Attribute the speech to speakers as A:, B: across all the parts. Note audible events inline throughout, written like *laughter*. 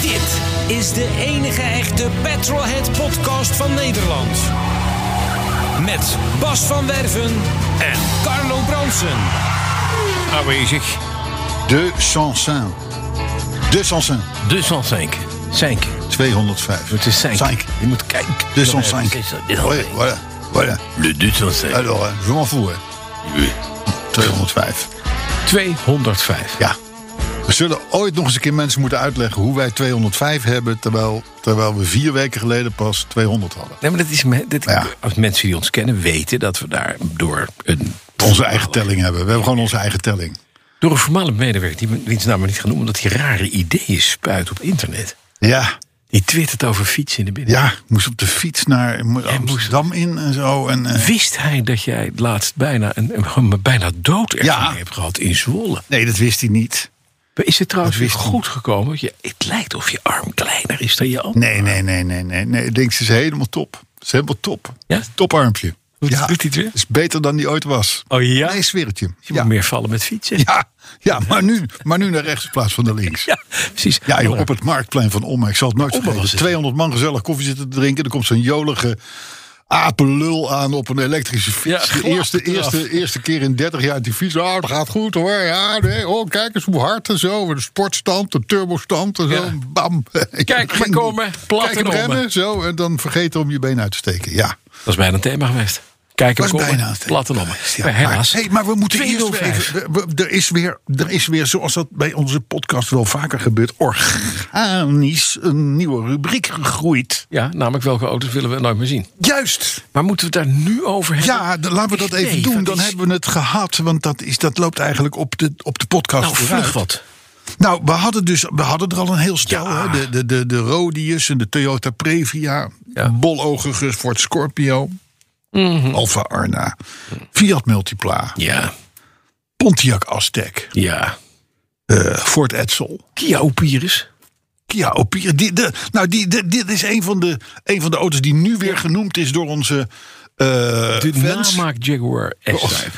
A: Dit is de enige echte Petrolhead podcast van Nederland. Met Bas van Werven en Carlo Bronsen.
B: aanwezig. De Sansin. De Sansin.
C: Dus al Senk. Senk.
B: 205.
C: Het is Senk.
B: Cinq.
C: Je moet kijken.
B: De
C: Non, mais c'est
B: 105.
C: ça.
B: Oui, voilà. Voilà.
C: Le Duits al Senk.
B: Alors, euh, je m'en fous, hè. 205.
C: 205.
B: Ja. We zullen ooit nog eens een keer mensen moeten uitleggen hoe wij 205 hebben... terwijl, terwijl we vier weken geleden pas 200 hadden.
C: Nee, maar dat is, me- dat,
B: Ja.
C: als mensen die ons kennen weten dat we daar door een,
B: Onze eigen telling hebben. We hebben gewoon onze eigen telling.
C: door een voormalig medewerker, die we- wiens naam we niet gaan noemen, omdat hij rare ideeën spuit op internet.
B: Ja,
C: Die twittert over fietsen in de binnen.
B: ja. Moest op de fiets naar mo- Amsterdam in en zo. En, eh,
C: Wist hij dat jij laatst bijna, een, een, een bijna dood
B: Ja.
C: hebt gehad in Zwolle?
B: nee, dat wist hij niet.
C: Is het trouwens
B: Dat
C: weer
B: wist hij
C: goed gekomen? Je, het lijkt of je arm kleiner is dan je ander.
B: Nee, nee, nee, nee, nee. nee. Ik denk, ze is helemaal top. Ze is helemaal top.
C: Ja?
B: Toparmpje.
C: Doet- doet hij het weer?
B: Is beter dan die ooit was.
C: Oh ja?
B: Nee, zweertje.
C: Je
B: Ja.
C: moet meer vallen met fietsen.
B: Ja, ja maar, nu, maar nu naar rechts in plaats van naar links.
C: *laughs* Ja, precies.
B: Ja, joh, op het marktplein van Ommen. Ik zal het nooit
C: Ommen was
B: vergeten.
C: het.
B: 200 man gezellig koffie zitten te drinken. Er komt zo'n jolige apenlul aan op een elektrische fiets.
C: Ja,
B: de eerste,
C: glad eraf.
B: eerste, eerste keer in 30 jaar die fiets. Ah, dat gaat goed hoor. Ja, nee, oh, kijk eens hoe hard en zo. De sportstand, de turbostand en zo.
C: Ja.
B: Bam. *laughs*
C: Kijk,
B: Ging
C: maar
B: die.
C: komen, plat
B: Kijk
C: en
B: hem
C: Ommen.
B: rennen, zo. En dan vergeten om je been uit te steken. Ja.
C: Dat is bijna een thema geweest. Kijk hem
B: Was
C: komen,
B: bijna het
C: platte nommer.
B: Ja,
C: maar helaas.
B: Maar, hey, maar we moeten eerst
C: 205.
B: even... we- we- er, is weer, er is weer, zoals dat bij onze podcast wel vaker gebeurt... organisch een nieuwe rubriek gegroeid.
C: Ja, namelijk welke auto's willen we nooit meer zien.
B: Juist.
C: Maar moeten we het daar nu over hebben?
B: Ja, d- laten we dat
C: Nee,
B: even doen.
C: dat
B: Dan
C: is-
B: hebben we het gehad. Want dat, is, dat loopt eigenlijk op de, op de podcast
C: Nou,
B: vooruit.
C: vlug wat.
B: Nou, we hadden, dus, we hadden er al een heel stel.
C: Ja.
B: Hè? De, de, de, de Rodius en de Toyota Previa.
C: Ja.
B: Bologige Ford Scorpio. Alfa Arna. Fiat Multipla.
C: Ja,
B: Pontiac Aztec.
C: ja.
B: eh, Ford Edsel.
C: Kia Opirus.
B: Kia Opira. Die, de, nou, die, de- dit is een van, de, een van de auto's die nu weer genoemd is door onze eh
C: De
B: fans. Oh,
C: namaak Jaguar S-Type.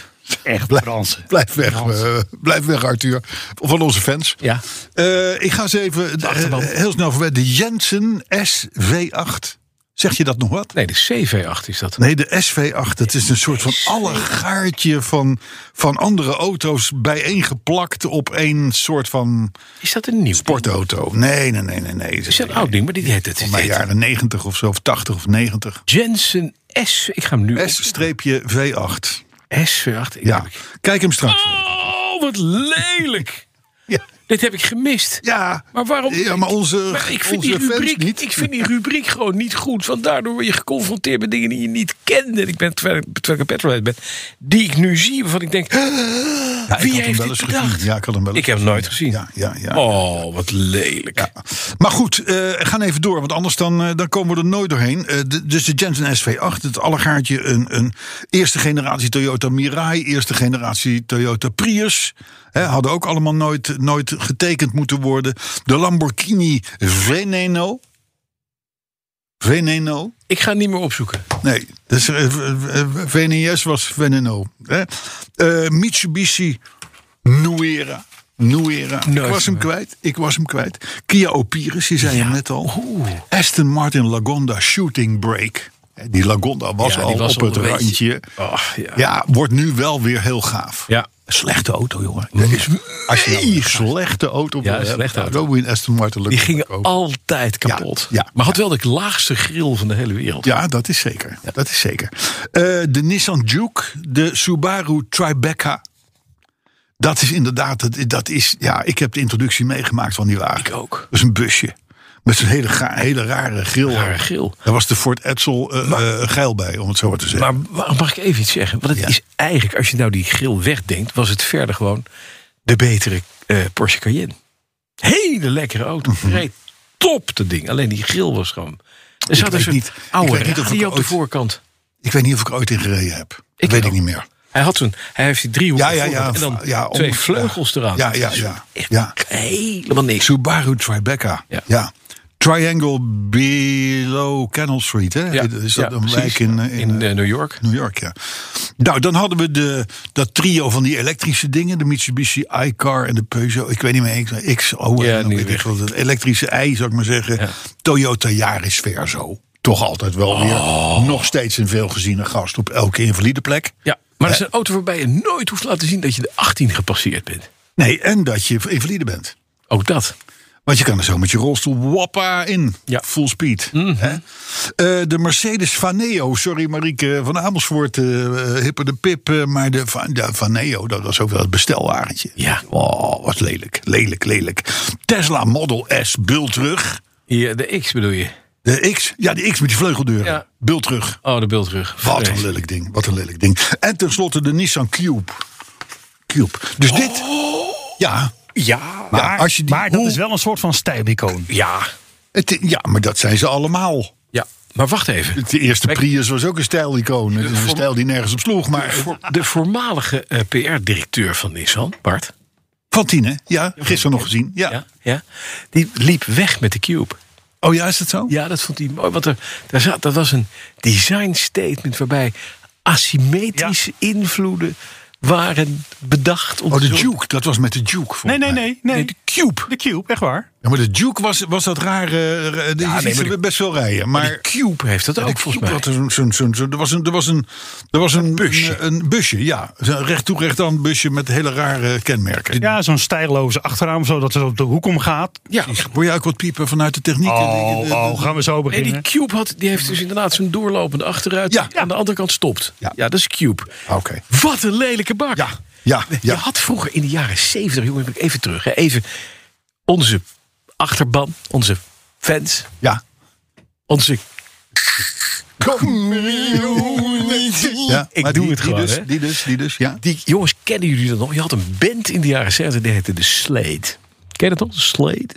D: Echt Fransen.
B: *laughs* Blijf weg, eh, blijf weg, Arthur. Van onze fans.
C: Ja.
B: Eh, ik ga ze even eh,
C: achterban.
B: heel snel voorbij. De Jensen SV8. Zeg je dat nog wat?
C: Nee, de CV8 is dat.
B: Nee, de SV8. Dat is een soort van allegaartje van, van andere auto's bijeengeplakt op één soort van
C: Is dat een nieuw?
B: sportauto. Nee, nee, nee, nee. nee.
C: Is dat een oud ding? Maar dit heet het.
B: Volgens mij
C: dit heet
B: jaren 90 of zo, of 80 of 90.
C: Jensen S. Ik ga hem nu op.
B: S-V8.
C: SV8. Ik
B: Ja,
C: heb ik-
B: kijk hem straks.
C: Oh, wat lelijk.
B: Ja,
C: Dit heb ik gemist.
B: ja.
C: Maar waarom?
B: Ja, maar onze,
C: Maar ik vind,
B: onze
C: die rubriek,
B: fans niet.
C: ik vind die rubriek gewoon niet goed. Want daardoor word je geconfronteerd met dingen die je niet kende. En Ik ben, terwijl ik terwijl ik een petrolhead ben, die ik nu zie. Waarvan ik denk, *gasps*
B: Ja, ik
C: wie
B: had hem
C: heeft
B: wel
C: dit
B: eens
C: bedacht?
B: gezien. Ja, ik had hem wel eens
C: ik heb hem nooit gezien.
B: Ja, ja, ja.
C: Oh, wat lelijk.
B: Ja. Maar goed, eh gaan even door, want anders dan, eh, dan komen we er nooit doorheen. Eh, de- dus de Jensen SV8, het allegaartje, een, een eerste generatie Toyota Mirai, eerste generatie Toyota Prius. Hè, hadden ook allemaal nooit, nooit getekend moeten worden. De Lamborghini Veneno. Veneno.
C: Ik ga het niet meer opzoeken.
B: Nee, dus, eh, v- eh, VNS was Veneno. Hè? Eh, Mitsubishi Nuera. Nuera.
C: Nooit
B: ik was hem
C: meer.
B: kwijt. Ik was hem kwijt. Kia Opirus, je zei hem net al. Aston Martin Lagonda Shooting Brake. Hè, Die Lagonda was
C: Ja, die
B: al
C: was
B: op
C: al
B: het
C: een beetje-
B: randje.
C: Oh, ja.
B: Ja, wordt nu wel weer heel gaaf.
C: Ja.
B: Slechte auto, jongen. Dat is als je een slechte auto wil
C: Ja,
B: hebben,
C: slechte auto.
B: dan moet je een Aston Martin
C: Die
B: Lagonda
C: gingen
B: kopen.
C: altijd kapot.
B: ja,
C: maar had wel de laagste grill van de hele wereld.
B: Ja, dat is zeker. Dat is zeker. Eh, de Nissan Juke, de Subaru Tribeca. Dat is inderdaad, dat- dat is, ja, ik heb de introductie meegemaakt van die wagen.
C: Ik ook.
B: Dat is een busje. Met zijn hele, ga- hele rare grill.
C: Rare grill.
B: Daar was de Ford Edsel eh, eh, geil bij, om het zo maar te zeggen.
C: Maar wa- mag ik even iets zeggen? Want het
B: Ja.
C: is eigenlijk, als je nou die grill wegdenkt, was het verder gewoon de betere eh, Porsche Cayenne. Hele lekkere auto.
B: Mhm.
C: Reed top dat ding. Alleen die grill was gewoon. Er zat
B: weet
C: een soort
B: niet- ik
C: oude
B: weet niet of ik
C: radio op de
B: ooit-
C: voorkant.
B: ik weet niet of ik er ooit in gereden heb.
C: Ik
B: weet
C: wel.
B: ik niet meer.
C: Hij had zo'n, hij heeft die driehoek
B: Ja, ja, ja.
C: en dan
B: ja, om-
C: twee vleugels
B: ja.
C: eraan.
B: Ja, ja,
C: Dat is
B: ja.
C: echt
B: ja.
C: Helemaal niks.
B: Subaru Tribeca.
C: Ja.
B: Ja. Triangle below Canal Street. Hè? Is dat
C: ja,
B: een
C: precies.
B: wijk in, eh, in,
C: in eh, New York.
B: New York, ja. Nou, dan hadden we de, dat trio van die elektrische dingen. De Mitsubishi i-Car en de Peugeot. Ik weet niet meer, X, X O.
C: Ja,
B: en dan
C: niet
B: weet ik
C: weg.
B: veel. Dat elektrische i, zou ik maar zeggen.
C: Ja.
B: Toyota Yaris Verso. Toch altijd wel weer nog steeds een veelgeziene gast op elke invalide plek.
C: Oh. Ja, maar dat is een auto waarbij je nooit hoeft te laten zien dat je de 18 gepasseerd bent.
B: Nee, en dat je invalide bent.
C: Ook dat.
B: Want je kan er zo met je rolstoel wappa in.
C: Ja.
B: Full speed.
D: Mm-hmm.
B: hè? Eh, de Mercedes Vaneo. Sorry Marieke van Amersfoort. eh eh, hippe de pip. eh, maar de, Va- de Vaneo, dat was ook wel het bestelwagentje.
C: Ja.
B: Oh, wat lelijk. Lelijk, lelijk. Tesla Model S. Bul terug.
C: Ja, de X bedoel je?
B: De X. Ja, de X met die vleugeldeuren.
C: Ja.
B: Bul terug.
C: Oh, de beeldrug.
B: Wat een lelijk ding. Wat een lelijk ding. En tenslotte de Nissan Cube. Cube. Dus dit. Ja.
D: Ja,
B: Maar
D: Oh. maar,
B: als je die-
D: maar dat
B: hoe-
D: is wel een soort van stijlicoon.
C: Ja.
B: Het, ja, maar dat zijn ze allemaal.
C: Ja, maar wacht even.
B: De eerste
C: Kijk.
B: Prius was ook een stijlicoon. Het is Een
C: voor-
B: stijl die nergens op sloeg, maar...
C: De voormalige PR-directeur van Nissan, Bart,
B: Fantine, ja, gisteren nog gezien. Ja.
C: ja. Ja, die liep weg met de Cube.
B: Oh ja, is dat zo?
C: Ja, dat vond hij mooi. Want er, daar zat, dat was een design statement waarbij asymmetrische invloeden waren bedacht. Om
B: Oh,
C: te
B: de
C: zorgen-
B: Duke, dat was met de Duke.
D: Nee,
B: volgens mij.
D: nee, nee, nee.
C: de Cube.
D: De Cube, echt waar.
B: Ja, maar de Duke was, was dat raar. eh, eh, die
C: nee,
B: ja,
C: maar de-
B: best wel rijden. Maar,
C: De Cube heeft dat
B: Ja, de
C: ook volgens
B: Cube
C: mij.
B: had zo'n- zo'n- zo'n- zo'n- er was een, er was een, er was een,
C: busje.
B: Een, een busje, ja. Zo'n recht toe, recht aan busje met hele rare kenmerken.
D: Ja, zo'n stijloze achterraam, zodat het op de hoek omgaat.
C: Ja,
B: Hoor jij ook wat piepen vanuit de techniek?
D: Oh,
B: De- de- de-
D: oh, gaan we zo
C: Nee, die
D: beginnen.
C: Cube had, die heeft dus inderdaad zo'n doorlopende achteruit.
B: Ja.
C: die Aan de andere kant stopt. Ja,
B: Ja.
C: dat is Cube.
B: Ah, oké.
C: Wat een lelijke bak.
B: Ja, ja,
C: Je
B: ja.
C: had vroeger in de jaren 70, jongen, heb ik even terug. Hè, even onze achterban, onze fans,
B: Ja.
C: onze.
B: ja.
C: Ik
B: maar
C: doe
B: die-
C: het gewoon,
B: Die dus,
C: hè.
B: die dus, die dus, ja.
C: Die, jongens, kennen jullie dat nog? Je had een band in de jaren 70, die heette de Slade. Ken je dat nog? Slade?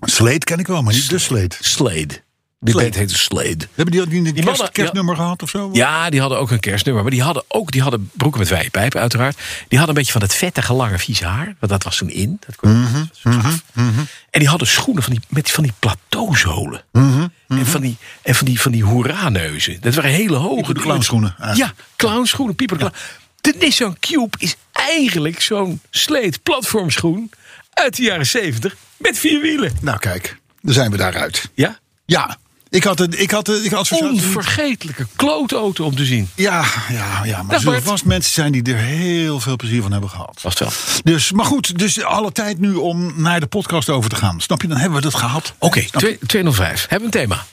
B: Sleet ken ik wel, maar niet de Sleet.
C: Slade. Die
B: Slade.
C: band heette Slade.
B: Hebben die ook niet een kerst-
C: mannen-
B: kerstnummer gehad of zo?
C: Ja, die hadden ook een kerstnummer. Maar die hadden ook die hadden broeken met wijde pijpen, uiteraard. Die hadden een beetje van het vettige, lange, vieze haar. Want dat was toen in. Dat kon,
B: Mhm,
C: dat was gaaf. En die hadden schoenen van die, met van die plateauzolen.
B: Mhm,
C: En van die, en van die, van die hoera-neuzen. Dat waren hele hoge...
B: de clownschoenen,
C: Ja,
B: eigenlijk.
C: clownschoenen, pieper de clown. De Nissan Cube is eigenlijk zo'n sleet platformschoen uit de jaren 70 met vier wielen.
B: Nou kijk, dan zijn we daaruit.
C: Ja?
B: Ja, ik had het, ik had het, ik had zo'n-
C: Onvergetelijke klootauto om te zien.
B: Ja, ja, ja. Maar
C: Dag,
B: er zullen
C: Bart.
B: vast mensen zijn die er heel veel plezier van hebben gehad.
C: Vast wel.
B: Dus, maar goed, dus alle tijd nu om naar de podcast over te gaan. Snap je? Dan hebben we dat gehad.
C: Oké,
B: Snap je?
C: twee- 205. Hebben we een thema?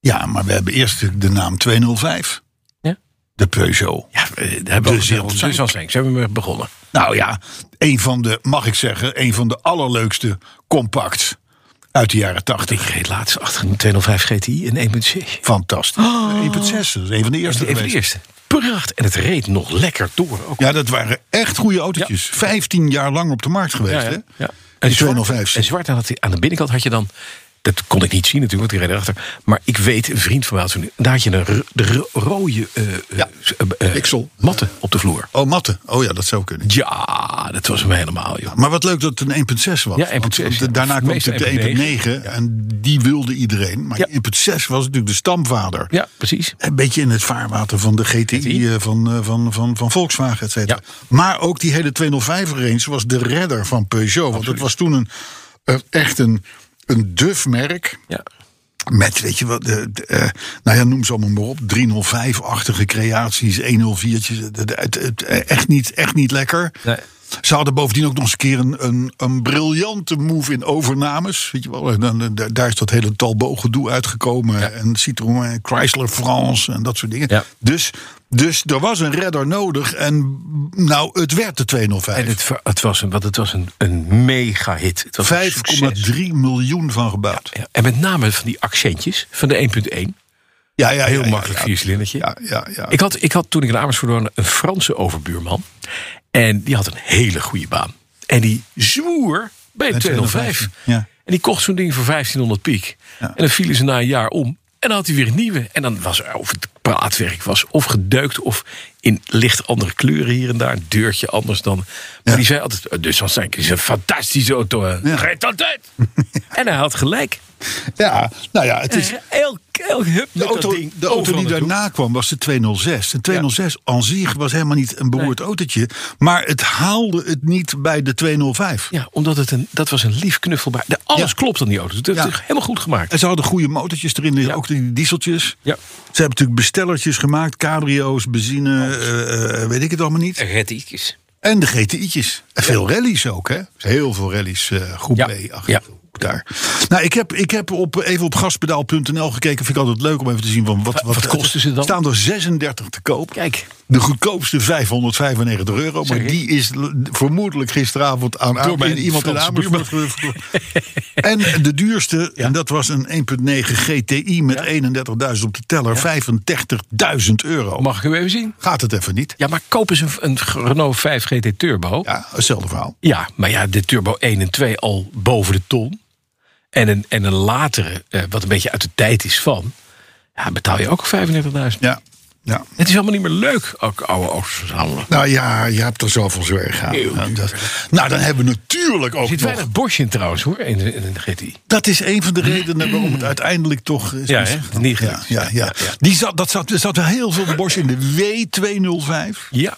B: Ja, maar we hebben eerst natuurlijk de naam 205.
C: Ja.
B: De Peugeot.
C: Ja, eh, daar hebben we
B: Dus
C: dus al
B: heel
C: gezegd.
B: zijn.
C: Dus al zijn. Zijn we mee begonnen.
B: Nou ja, een van de, mag ik zeggen, een van de allerleukste compacts uit de jaren 80.
C: Ik reed laatst achter een 205 GTI en 1.6.
B: Fantastisch. 1.6, dat is een van de eerste
C: Even Oh. de
B: geweest.
C: eerste. Pracht. En het reed nog lekker door. Ook.
B: Ja, dat waren echt goede autootjes. 15 jaar lang op de markt geweest, hè?
C: En
B: Die
C: zwart,
B: 205.
C: en zwart aan, het- aan de binnenkant had je dan... Dat kon ik niet zien natuurlijk, want ik reed erachter. Maar ik weet, een vriend van mij had zo'n... Daar had je een ro- de ro- rode eh, eh, eh, eh,
B: Pixel.
C: matten op de vloer.
B: Oh, matten. Oh ja, dat zou kunnen.
C: Ja, dat was hem helemaal, joh.
B: Maar wat leuk dat het een 1.6 was.
C: Ja, 1.6,
B: Want, want
C: ja.
B: Daarna kwam
C: Meestal
B: natuurlijk de 1.9 en die wilde iedereen. Maar
C: Ja.
B: 1.6 was natuurlijk de stamvader.
C: Ja, precies.
B: Een beetje in het vaarwater van de GTI,
C: GTI.
B: eh, Van, eh, van, van, van Volkswagen, et cetera. Maar ook die hele 205 range was de redder van Peugeot. Want het was toen een, eh, echt een, een duf merk.
C: Ja.
B: Met, weet je wat, de, de, eh, nou ja, noem ze allemaal maar op. 305-achtige creaties, 104'tjes. de- de- het- het- Echt niet, echt niet lekker.
C: Nee.
B: Ze hadden bovendien ook nog eens een keer een, een, een briljante move in overnames. Weet je wel, en dan- daar- daar is dat hele Talbot gedoe uitgekomen. En Citroën, Chrysler France en dat soort dingen.
C: Ja.
B: Dus, dus er was een redder nodig. En nou, het werd de 205.
C: En het, ver- het was een, want het was een, een mega hit. Het was een succes.
B: 5,3 miljoen van gebouwd.
C: Ja, en met name van die accentjes van de 1.1.
B: Ja, ja,
C: Heel
B: ja, ja,
C: makkelijk
B: ja.
C: viercilindertje.
B: Ja, ja, ja.
C: Ik had, ik had toen ik in Amersfoort woonde een Franse overbuurman. En die had een hele goede baan. En die zwoer bij de
B: Bij
C: 205.
B: 205, ja.
C: En die kocht zo'n ding voor 1500 piek. En dan vielen ze na een jaar om. En dan had hij weer een nieuwe. En dan was er, of het praatwerk was, of gedeukt, of in licht andere kleuren hier en daar. Een deurtje anders dan. Maar
B: Ja.
C: die zei altijd: eh, Dus dan zijn is een fantastische auto. hè. Rijdt altijd. *laughs* en hij had gelijk.
B: ja, nou ja, het is...
C: Elk, elk hup
B: De auto, de auto die
C: daarna.
B: daarna kwam was de 206. De 206 aan zich was helemaal niet een beroerd autootje. Maar het haalde het niet bij de 205.
C: Ja, omdat het een, dat was een lief knuffelbaar. De, alles
B: Ja.
C: klopt aan die auto. Dat
B: Ja.
C: is helemaal goed gemaakt.
B: En ze hadden goede motortjes erin, ook die dieseltjes.
C: Ja.
B: Ze hebben natuurlijk bestellertjes gemaakt, cabrio's, benzine,
C: Oh.
B: eh, eh, weet ik het allemaal niet.
C: Rettiekjes.
B: En de GTI'tjes. En veel rallies ook, hè? Heel veel rallies, eh groep
C: Ja.
B: B. achter
C: Ja.
B: de hoek Daar. Nou, ik heb, ik heb op, even op gaspedaal.nl gekeken. Vind ik altijd leuk om even te zien van wat,
C: wat kosten ze dan?
B: Er staan er 36 te koop.
C: Kijk.
B: De goedkoopste 595 euro. Maar
C: Zeg ik?
B: die is l- vermoedelijk gisteravond aan aan-
C: mijn
B: in iemand in
C: Franse
B: Amersfoort. verkocht. en de
C: *laughs*
B: duurste, en dat was een 1.9 GTI met 31.000 op de teller. 35.000 euro.
C: Mag ik u even zien?
B: Gaat het even niet?
C: Ja, maar kopen ze een, een Renault 5 GT Turbo. Ja.
B: Ja, hetzelfde verhaal.
C: maar ja, de Turbo 1 en 2 al boven de ton. En een, en een latere, eh, wat een beetje uit de tijd is van. Ja, betaal je ook 35.000.
B: Ja, ja.
C: Het is allemaal niet meer leuk, ook oude auto's verzamelen.
B: Nou ja, je hebt er zoveel zwerg aan.
C: Eeuw.
B: Nou, dat- nou, dan hebben we natuurlijk
C: Er
B: ook
C: zit
B: nog...
C: weinig Bosch in trouwens, hoor, in de, in de GTI.
B: Dat is een van de redenen waarom het uiteindelijk toch... Is
C: Ja, hè?
B: misgegaan.
C: Niet
B: ja,
C: gelukt.
B: ja, ja. Die zat, dat zat, er zat wel heel veel Bosch in de W205.
C: Ja.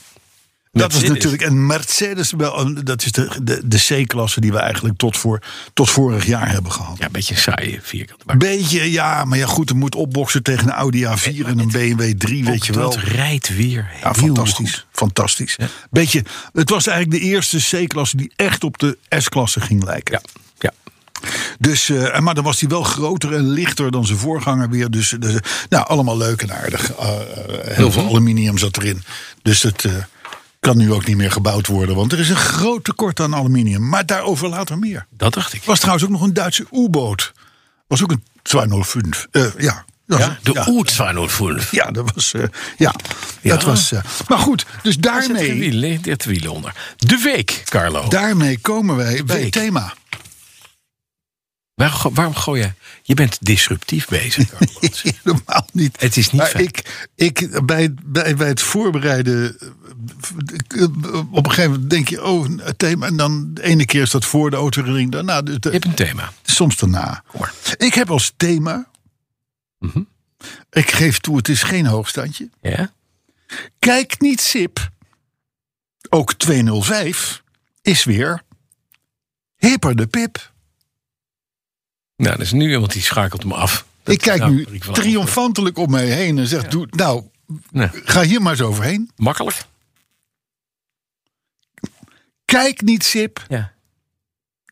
B: Dat was
C: Mercedes.
B: natuurlijk een Mercedes, wel een- dat is de, de, de C-klasse die we eigenlijk tot, voor, tot vorig jaar hebben gehad.
C: Ja, een beetje een saaie vierkant. Maar
B: Beetje, ja, maar ja goed, er moet opboksen tegen een Audi A4 en een BMW 3, weet je
C: ook
B: wel.
C: dat rijdt weer heel
B: Ja, fantastisch.
C: goed.
B: Fantastisch. Beetje, het was eigenlijk de eerste C-klasse die echt op de S-klasse ging lijken.
C: Ja, ja.
B: Dus, eh, maar dan was hij wel groter en lichter dan zijn voorganger weer. Dus, dus, nou, allemaal leuk en aardig. Eh, eh, heel veel
C: Mhm.
B: aluminium zat erin. Dus het eh, kan nu ook niet meer gebouwd worden. Want er is een groot tekort aan aluminium. Maar daarover later meer.
C: Dat dacht ik.
B: Er was trouwens ook nog een Duitse U-boot. Was ook een 205. Eh, ja. Dat was-
C: Ja, de
B: ja.
C: U205.
B: Ja, dat was. eh, ja, dat was. eh, maar goed, dus
C: Zet er een
B: daarmee,
C: wiel, in, zet er wielen onder. De week, Carlo.
B: daarmee komen wij bij
C: Week.
B: het thema. *laughs*
C: waarom, go- waarom gooi je... Je bent disruptief bezig,
B: *laughs*
C: Carlo.
B: Helemaal niet.
C: Het is niet
B: maar
C: fijn.
B: ik, ik bij, het- bij, bij het voorbereiden. eh, Op een gegeven moment denk je, oh, het thema. En dan de ene keer is dat voor de autoring, daarna. de- de-
C: Je hebt een thema.
B: soms daarna.
C: maar.
B: Ik heb als thema.
C: Mhm.
B: Ik geef toe, het is geen hoogstandje.
C: Ja?
B: Kijk niet sip. Ook 205 is weer. Hipper de pip.
C: Nou, dat is nu iemand die schakelt me af. Dat-
B: Ik kijk
C: nou,
B: nu
C: Rick van Amstel.
B: triomfantelijk om mij heen en zeg: doe, Nou,
C: Nou,
B: ga hier maar eens overheen.
C: makkelijk.
B: Kijk niet, Sip.
C: Ja.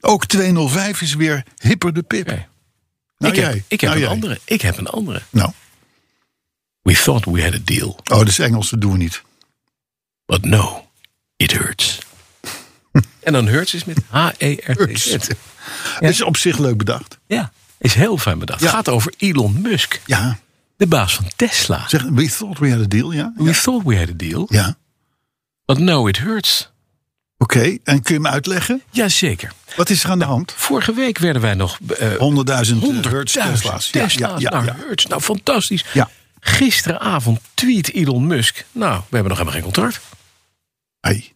B: Ook 205 is weer hipper de pip.
C: Oké.
B: Nou,
C: ik heb,
B: jij.
C: ik heb
B: Nou, jij.
C: een andere. Ik heb een andere.
B: Nou,
C: We thought we had a deal.
B: oh, dat is Engels, dat doen we niet.
C: But no, it hurts. en dan hurts is met H-E-R-T-Z.
B: Hurts. Dat is op zich leuk bedacht.
C: Ja, is heel fijn bedacht. Het gaat over Elon Musk,
B: Ja,
C: de baas van Tesla.
B: zeg, we thought we had a deal, ja?
C: We thought we had a deal,
B: Ja,
C: but no, it hurts.
B: oké. En kun je me uitleggen?
C: Jazeker.
B: Wat is er aan de hand? 100.000
C: Vorige week werden wij nog eh
B: eh,
C: 100.000
B: hertz Tesla's. Ja,
C: Tesla's
B: ja, ja,
C: naar
B: ja.
C: Hertz. Nou, fantastisch.
B: Ja.
C: Gisteravond tweet Elon Musk. Nou, we hebben nog helemaal geen contract.
B: Hey.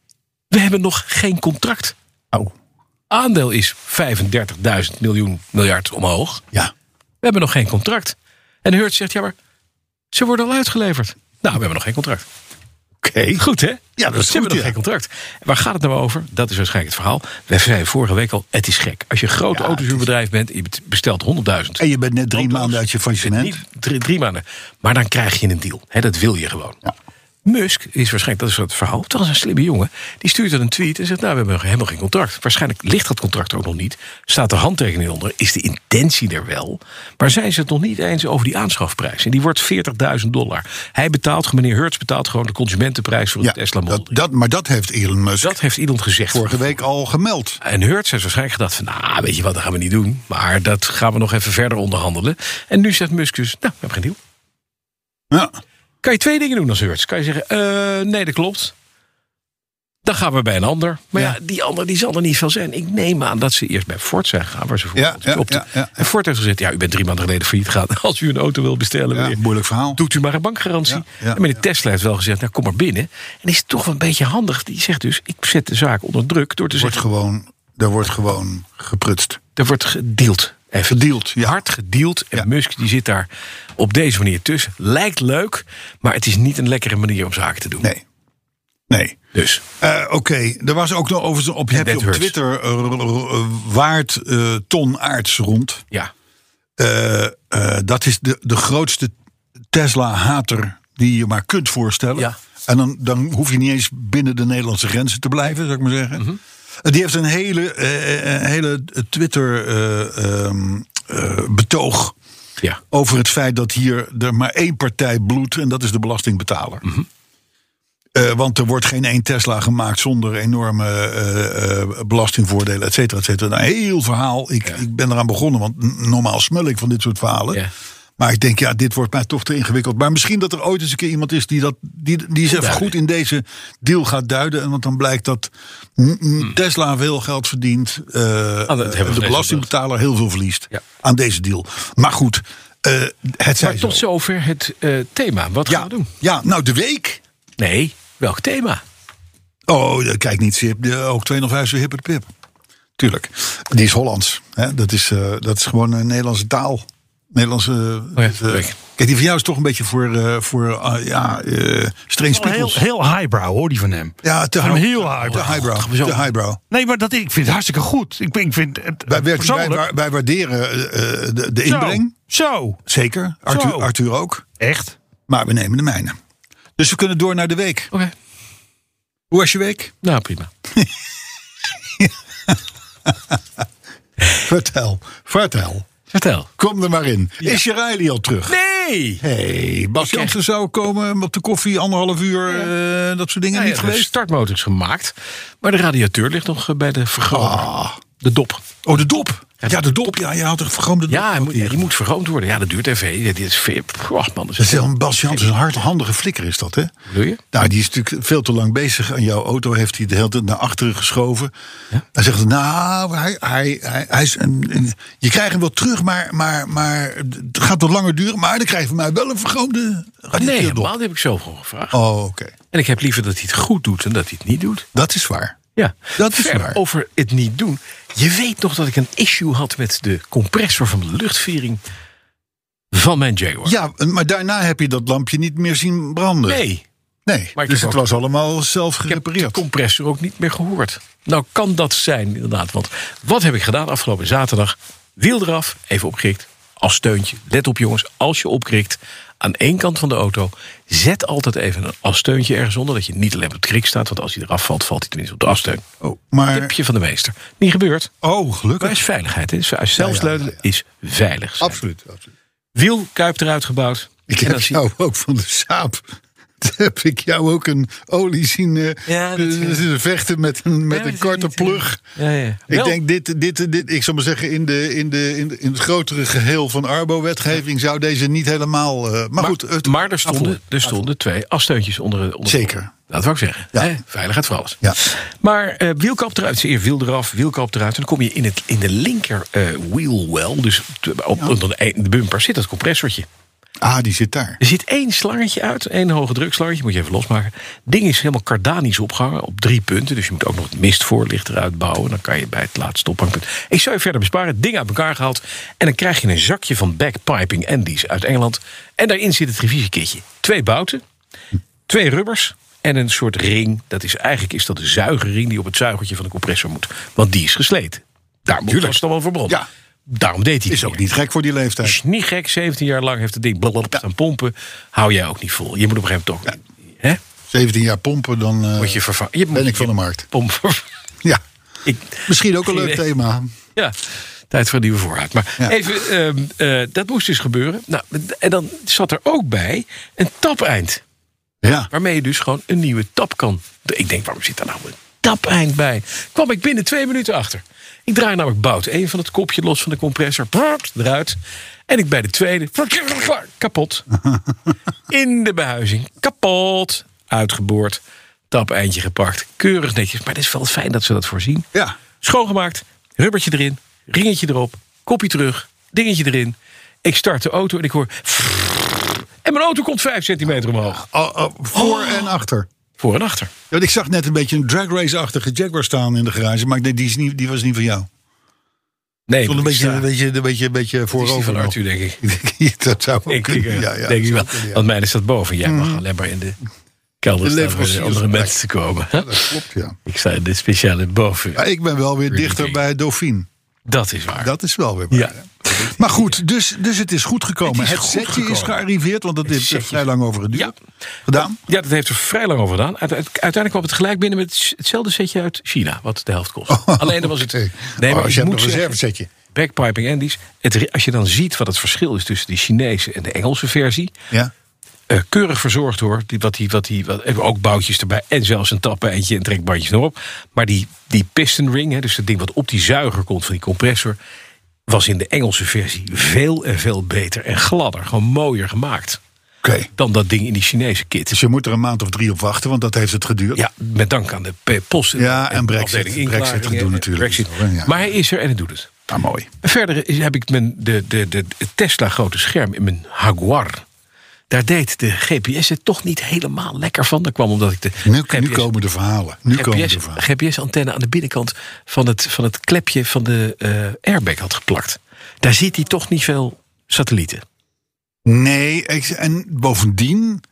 C: We hebben nog geen contract.
B: Au.
C: Aandeel is 35.000 miljoen miljard omhoog.
B: Ja.
C: We hebben nog geen contract. En Hertz zegt, ja maar, ze worden al uitgeleverd. Nou, we hebben nog geen contract.
B: Oké.
C: Goed hè?
B: Ja, dat is
C: Ze hebben
B: goed,
C: nog
B: ja.
C: geen contract. Waar gaat het nou over? Dat is waarschijnlijk het verhaal. We zeiden vorige week al, het is gek. Als je een groot autoverhuurbedrijf bent, je bestelt 100.000.
B: En je bent net drie
C: Auto's.
B: maanden uit je
C: Je bent
B: faillissement.
C: niet Drie, drie maanden. Maar dan krijg je een deal. Hè, dat wil je gewoon. Musk is waarschijnlijk, dat is het verhaal, dat was een slimme jongen. Die stuurt dan een tweet en zegt, nou, we hebben helemaal geen contract. Waarschijnlijk ligt dat contract ook nog niet. Staat de handtekening onder, is de intentie er wel. Maar zijn ze het nog niet eens over die aanschafprijs. En die wordt 40.000 dollar. Hij betaalt, meneer Hertz betaalt gewoon de consumentenprijs voor de
B: Ja,
C: Tesla Model.
B: dat, dat, maar dat heeft Elon Musk
C: dat heeft iemand gezegd.
B: vorige week al gemeld.
C: En Hertz heeft waarschijnlijk gedacht van... nou, weet je wat, dat gaan we niet doen. Maar dat gaan we nog even verder onderhandelen. En nu zegt Musk dus, nou, we hebben geen deal.
B: Ja.
C: Kan je twee dingen doen als Hertz. Kan je zeggen, eh, nee, dat klopt. Dan gaan we bij een ander. Maar ja,
B: Ja.
C: die ander die zal er niet veel zijn. Ik neem aan dat ze eerst bij Ford zijn gegaan. Waar ze voor
B: Ja, ja,
C: op de-
B: ja, ja.
C: En Ford heeft gezegd, ja, u bent drie maanden geleden failliet gegaan. *laughs* Als u een auto wil bestellen,
B: Ja,
C: meneer,
B: moeilijk verhaal.
C: doet u maar een bankgarantie.
B: Ja, ja,
C: en meneer
B: ja.
C: Tesla heeft wel gezegd, nou, kom maar binnen. En is toch wel een beetje handig. Die zegt dus, ik zet de zaak onder druk door te
B: Wordt
C: zeggen...
B: gewoon, daar wordt gewoon geprutst.
C: Er wordt gedeeld. Even.
B: Gedeeld, ja.
C: Hard gedeeld. En
B: Ja.
C: Musk die zit daar op deze manier tussen. Lijkt leuk, maar het is niet een lekkere manier om zaken te doen.
B: Nee. Nee.
C: Dus
B: Eh, Oké, er was ook nog over op, je hebt
C: that
B: op
C: hurts.
B: Twitter eh, r- r- r- waard eh, ton aards rond.
C: ja,
B: Eh, eh, dat is de, de grootste Tesla-hater die je maar kunt voorstellen.
C: Ja.
B: En dan, dan hoef je niet eens binnen de Nederlandse grenzen te blijven, zou ik maar zeggen. Eh, Die heeft een hele, eh, eh, hele eh, ehm, Twitter-betoog
C: ja.
B: over het feit dat hier er maar één partij bloedt en dat is de belastingbetaler.
C: Mhm.
B: Eh, want er wordt geen één Tesla gemaakt zonder enorme eh, eh, belastingvoordelen, et cetera, et cetera. Nou, heel verhaal. Ik, ik ben eraan begonnen, want n- normaal smul ik van dit soort verhalen.
C: Ja.
B: Maar ik denk, ja, dit wordt mij toch te ingewikkeld. Maar misschien dat er ooit eens een keer iemand is die, dat, die, die eens even
C: duiden.
B: goed in deze deal gaat duiden. En want dan blijkt dat mm, mm, Tesla veel geld verdient. eh,
C: Ah, dat hebben we
B: en de
C: gelezen,
B: belastingbetaler heel veel verliest
C: Ja.
B: aan deze deal. Maar goed, eh, het
C: Maar
B: zijn
C: tot zover het eh, thema. Wat gaan
B: Ja,
C: we doen?
B: ja, nou de week.
C: Nee, welk thema?
B: Oh, eh, kijk niet, Sip. Eh, Ook 205 weer hipper de pip. Tuurlijk. Die is Hollands. Hè? Dat, is, eh, dat is gewoon een Nederlandse taal. Nederlandse. eh,
C: Oh ja,
B: dus, eh,
C: kijk.
B: kijk, die van jou is toch een beetje voor, eh, voor ah, ja, eh streng
D: Wel Heel,
B: spiegels.
D: heel highbrow hoor, die van hem.
B: ja, te
D: van hem
B: high-
D: heel
B: Te
D: highbrow.
B: highbrow. Te highbrow.
D: Nee, maar dat, ik vind het hartstikke goed. Ik, ik vind het
B: Wij, wij, wij,
D: persoonlijk-
B: wij waarderen eh, eh, de, de
D: Zo,
B: inbreng.
D: Zo,
B: Zeker. Arthur,
D: Zo.
B: Arthur ook.
D: echt.
B: Maar we nemen de mijne. Dus we kunnen door naar de week.
C: Oké,
B: Hoe was je week?
C: nou prima.
B: Vertel, vertel.
C: Vertel.
B: Kom er maar in. Is je Riley al terug?
C: Nee!
B: hey, Bas Jansen zou komen op de koffie, anderhalf uur, eh, dat soort dingen.
C: Nou ja,
B: niet
C: de
B: geweest?
C: startmotor is gemaakt, maar de radiateur ligt nog eh, bij de vergroting.
B: Ah.
C: De dop.
B: Oh, de dop. Ja, de dop. Ja, je had een vergroomde dop.
C: Ja, hij moet, die moet vergroomd worden. Ja, dat duurt even. Dit is veel. Oh, man, dat
B: Dat
C: is
B: is wel een Bas Jansen, een hardhandige flikker is dat, hè?
C: Bedoel je?
B: Nou, die is natuurlijk veel te lang bezig aan jouw auto. Heeft hij de hele tijd naar achteren geschoven. Hij zegt, nou, hij, hij, hij, hij is een, een- je krijgt hem wel terug, maar, maar, maar het gaat wat langer duren. Maar dan krijg je van mij wel een vergroomde
C: Nee,
B: radiateurdop.
C: helemaal, dat heb ik zo gewoon gevraagd.
B: Oh, oké.
C: En ik heb liever dat hij het goed doet dan dat hij het niet doet.
B: Dat is waar.
C: Ja,
B: Dat is
C: Verder
B: waar.
C: Over het niet doen. Je weet nog dat ik een issue had met de compressor van de luchtvering van mijn Jaguar.
B: Ja, maar daarna heb je dat lampje niet meer zien branden.
C: Nee,
B: Nee,
C: Maar ik
B: dus
C: heb
B: het
C: ook-
B: was allemaal zelf
C: ik heb de
B: gerepareerd.
C: compressor ook niet meer gehoord. Nou kan dat zijn, inderdaad. Want wat heb ik gedaan afgelopen zaterdag? Wiel eraf, even opgerikt, als steuntje. Let op jongens, als je opkrikt aan één kant van de auto... zet altijd even een afsteuntje ergens onder... dat je niet alleen op het krik staat, want als hij eraf valt... valt hij tenminste op de afsteun.
B: Oh, maar,
C: Tipje van de meester. Niet gebeurd.
B: oh,
C: Maar
B: gelukkig.
C: is veiligheid. Hè? Zelfs
B: ja, ja.
C: is veilig. zijn.
B: Absoluut. absoluut.
C: Wielkuip eruit gebouwd.
B: Ik
C: En
B: heb oh,
C: dan zie-
B: jou ook van de saap. *laughs* Toen heb ik jou ook een olie zien eh,
C: Ja, dat-
B: eh, zitten vechten met, een- met
C: Ja,
B: een
C: dat
B: korte
C: is niet, eh,
B: plug.
C: Ja, ja.
B: Ik
C: Wel,
B: denk, dit, dit, dit, ik zou maar zeggen, in, de, in, de, in, de- in het grotere geheel van Arbo-wetgeving zou deze niet helemaal. eh, maar, goed, het,
C: maar er stonden, er stonden twee afsteuntjes onder, onder
B: Zeker.
C: Dat wou ik zeggen.
B: Ja.
C: Hè? Veiligheid voor alles.
B: Ja.
C: Maar eh wielkap eruit. Zeer wiel eraf, wielkap eruit. En dan kom je in, het, in de linker eh, wheelwell. Dus t- op, onder de, de bumper zit dat compressortje.
B: ah, die zit daar.
C: Er zit één slangetje uit, één hoge drukslangetje, moet je even losmaken. Het ding is helemaal cardanisch opgehangen op drie punten. Dus je moet ook nog het mistvoorlicht eruit bouwen. Dan kan je bij het laatste ophangpunt. Ik zou je verder besparen, het ding uit elkaar gehaald. En dan krijg je een zakje van backpiping Andes uit Engeland. En daarin zit het revisiekitje. Twee bouten, twee rubbers en een soort ring. Dat is eigenlijk is dat de zuigerring die op het zuigertje van de compressor moet. Want die is gesleten. Daar moet het dan wel voor bron.
B: Ja.
C: Daarom deed hij het
B: Is
C: niet.
B: ook niet gek voor die leeftijd.
C: Is niet gek, 17 jaar lang heeft het ding blablabla staan pompen. Hou jij ook niet vol. Je moet op een gegeven moment toch... Hè?
B: 17 jaar pompen, dan eh,
C: Word je vervangen. Je moet
B: ben ik van
C: je
B: de markt.
C: pomp *laughs* ver-
B: Ja,
C: Ik,
B: misschien ook een
C: Geen
B: leuk
C: idee.
B: thema.
C: ja, tijd voor een nieuwe voorraad. Maar
B: Ja.
C: even, ehm, eh, dat moest dus gebeuren. Nou, en dan zat er ook bij een tapeind.
B: Ja,
C: Waarmee je dus gewoon een nieuwe tap kan. Ik denk, waarom zit daar nou een tapeind bij? Kwam ik binnen twee minuten achter. Ik draai namelijk bout één van het kopje los van de compressor. Prrrt, eruit. En ik bij de tweede. Kapot. In de behuizing. Kapot. Uitgeboord. Tapeindje gepakt. Keurig netjes. Maar het is wel fijn dat ze dat voorzien.
B: ja.
C: Schoongemaakt. Rubbertje erin. Ringetje erop. Kopje terug. Dingetje erin. Ik start de auto en ik hoor... En mijn auto komt vijf centimeter omhoog.
B: Oh, oh, voor en achter.
C: Voor en achter.
B: Ja, want ik zag net een beetje een drag race-achtige Jaguar staan in de garage. Maar ik denk, die, is niet, die was niet van jou.
C: Nee,
B: Stond een
C: maar ik
B: beetje,
C: sta-
B: een beetje, een beetje, een beetje
C: het is die
B: voorover.
C: van
B: nog.
C: Arthur, denk ik.
B: *laughs* Ik denk, dat zou ook
C: Ik
B: kunnen.
C: eh,
B: ja, ja,
C: denk
B: dat zou
C: ik wel.
B: kunnen, ja. Mm-hmm.
C: Want mij staat boven. Jij mag alleen maar in de kelder
B: De
C: staan om
B: leveranciers
C: andere
B: erbij.
C: mensen te komen. hè?
B: Dat klopt, ja.
C: *laughs* Ik sta in de speciale boven.
B: Maar ik ben wel weer dichter bij Dauphine.
C: Dat is waar.
B: Dat is wel weer waar.
C: Ja.
B: hè? Maar goed, dus, dus het is goed gekomen.
C: Het
B: Het,
C: is goed
B: setje is
C: gekomen.
B: gearriveerd, want dat heeft
C: setje-
B: vrij lang over geduurd.
C: Ja.
B: Gedaan?
C: Ja, dat heeft er vrij lang over gedaan. Uite- uite- uiteindelijk kwam het gelijk binnen met s- hetzelfde setje uit China, wat de helft kost.
B: Oh.
C: Alleen dan
B: *laughs*
C: was het.
B: Oké.
C: Nee, maar
B: Oh,
C: ik
B: je hebt
C: moet
B: nog een
C: zeggen,
B: reservesetje.
C: Backpiping Andy's. Het, re- als je dan ziet wat het verschil is tussen de Chinese en de Engelse versie.
B: Ja.
C: Eh, keurig verzorgd hoor. Die, wat die, wat die, wat, ook boutjes erbij. En zelfs een tappeintje en trekbandjes erop. Maar die, die piston ring, hè, dus dat ding wat op die zuiger komt van die compressor. was in de Engelse versie veel en veel beter en gladder. Gewoon mooier gemaakt.
B: Oké.
C: dan dat ding in die Chinese kit.
B: Dus je moet er een maand of drie op wachten, want dat heeft het geduurd.
C: Ja, met dank aan de p- post.
B: Ja, en Brexit.
C: afdeling inklaringen,
B: Brexit gedoe
C: eh,
B: natuurlijk.
C: Brexit.
B: Zo, hè, ja.
C: Maar hij is er en het doet het.
B: Ah, mooi.
C: Verder is- heb ik mijn, de, de, de, het Tesla grote scherm in mijn Jaguar. Daar deed de GPS het toch niet helemaal lekker van. Dat kwam omdat ik de
B: Nu, nu
C: GPS
B: komen de verhalen. Nu komen de
C: GPS,
B: verhalen.
C: GPS-antenne aan de binnenkant van het, van het klepje van de eh, airbag had geplakt. Daar ziet hij toch niet veel satellieten.
B: Nee, ik- en bovendien,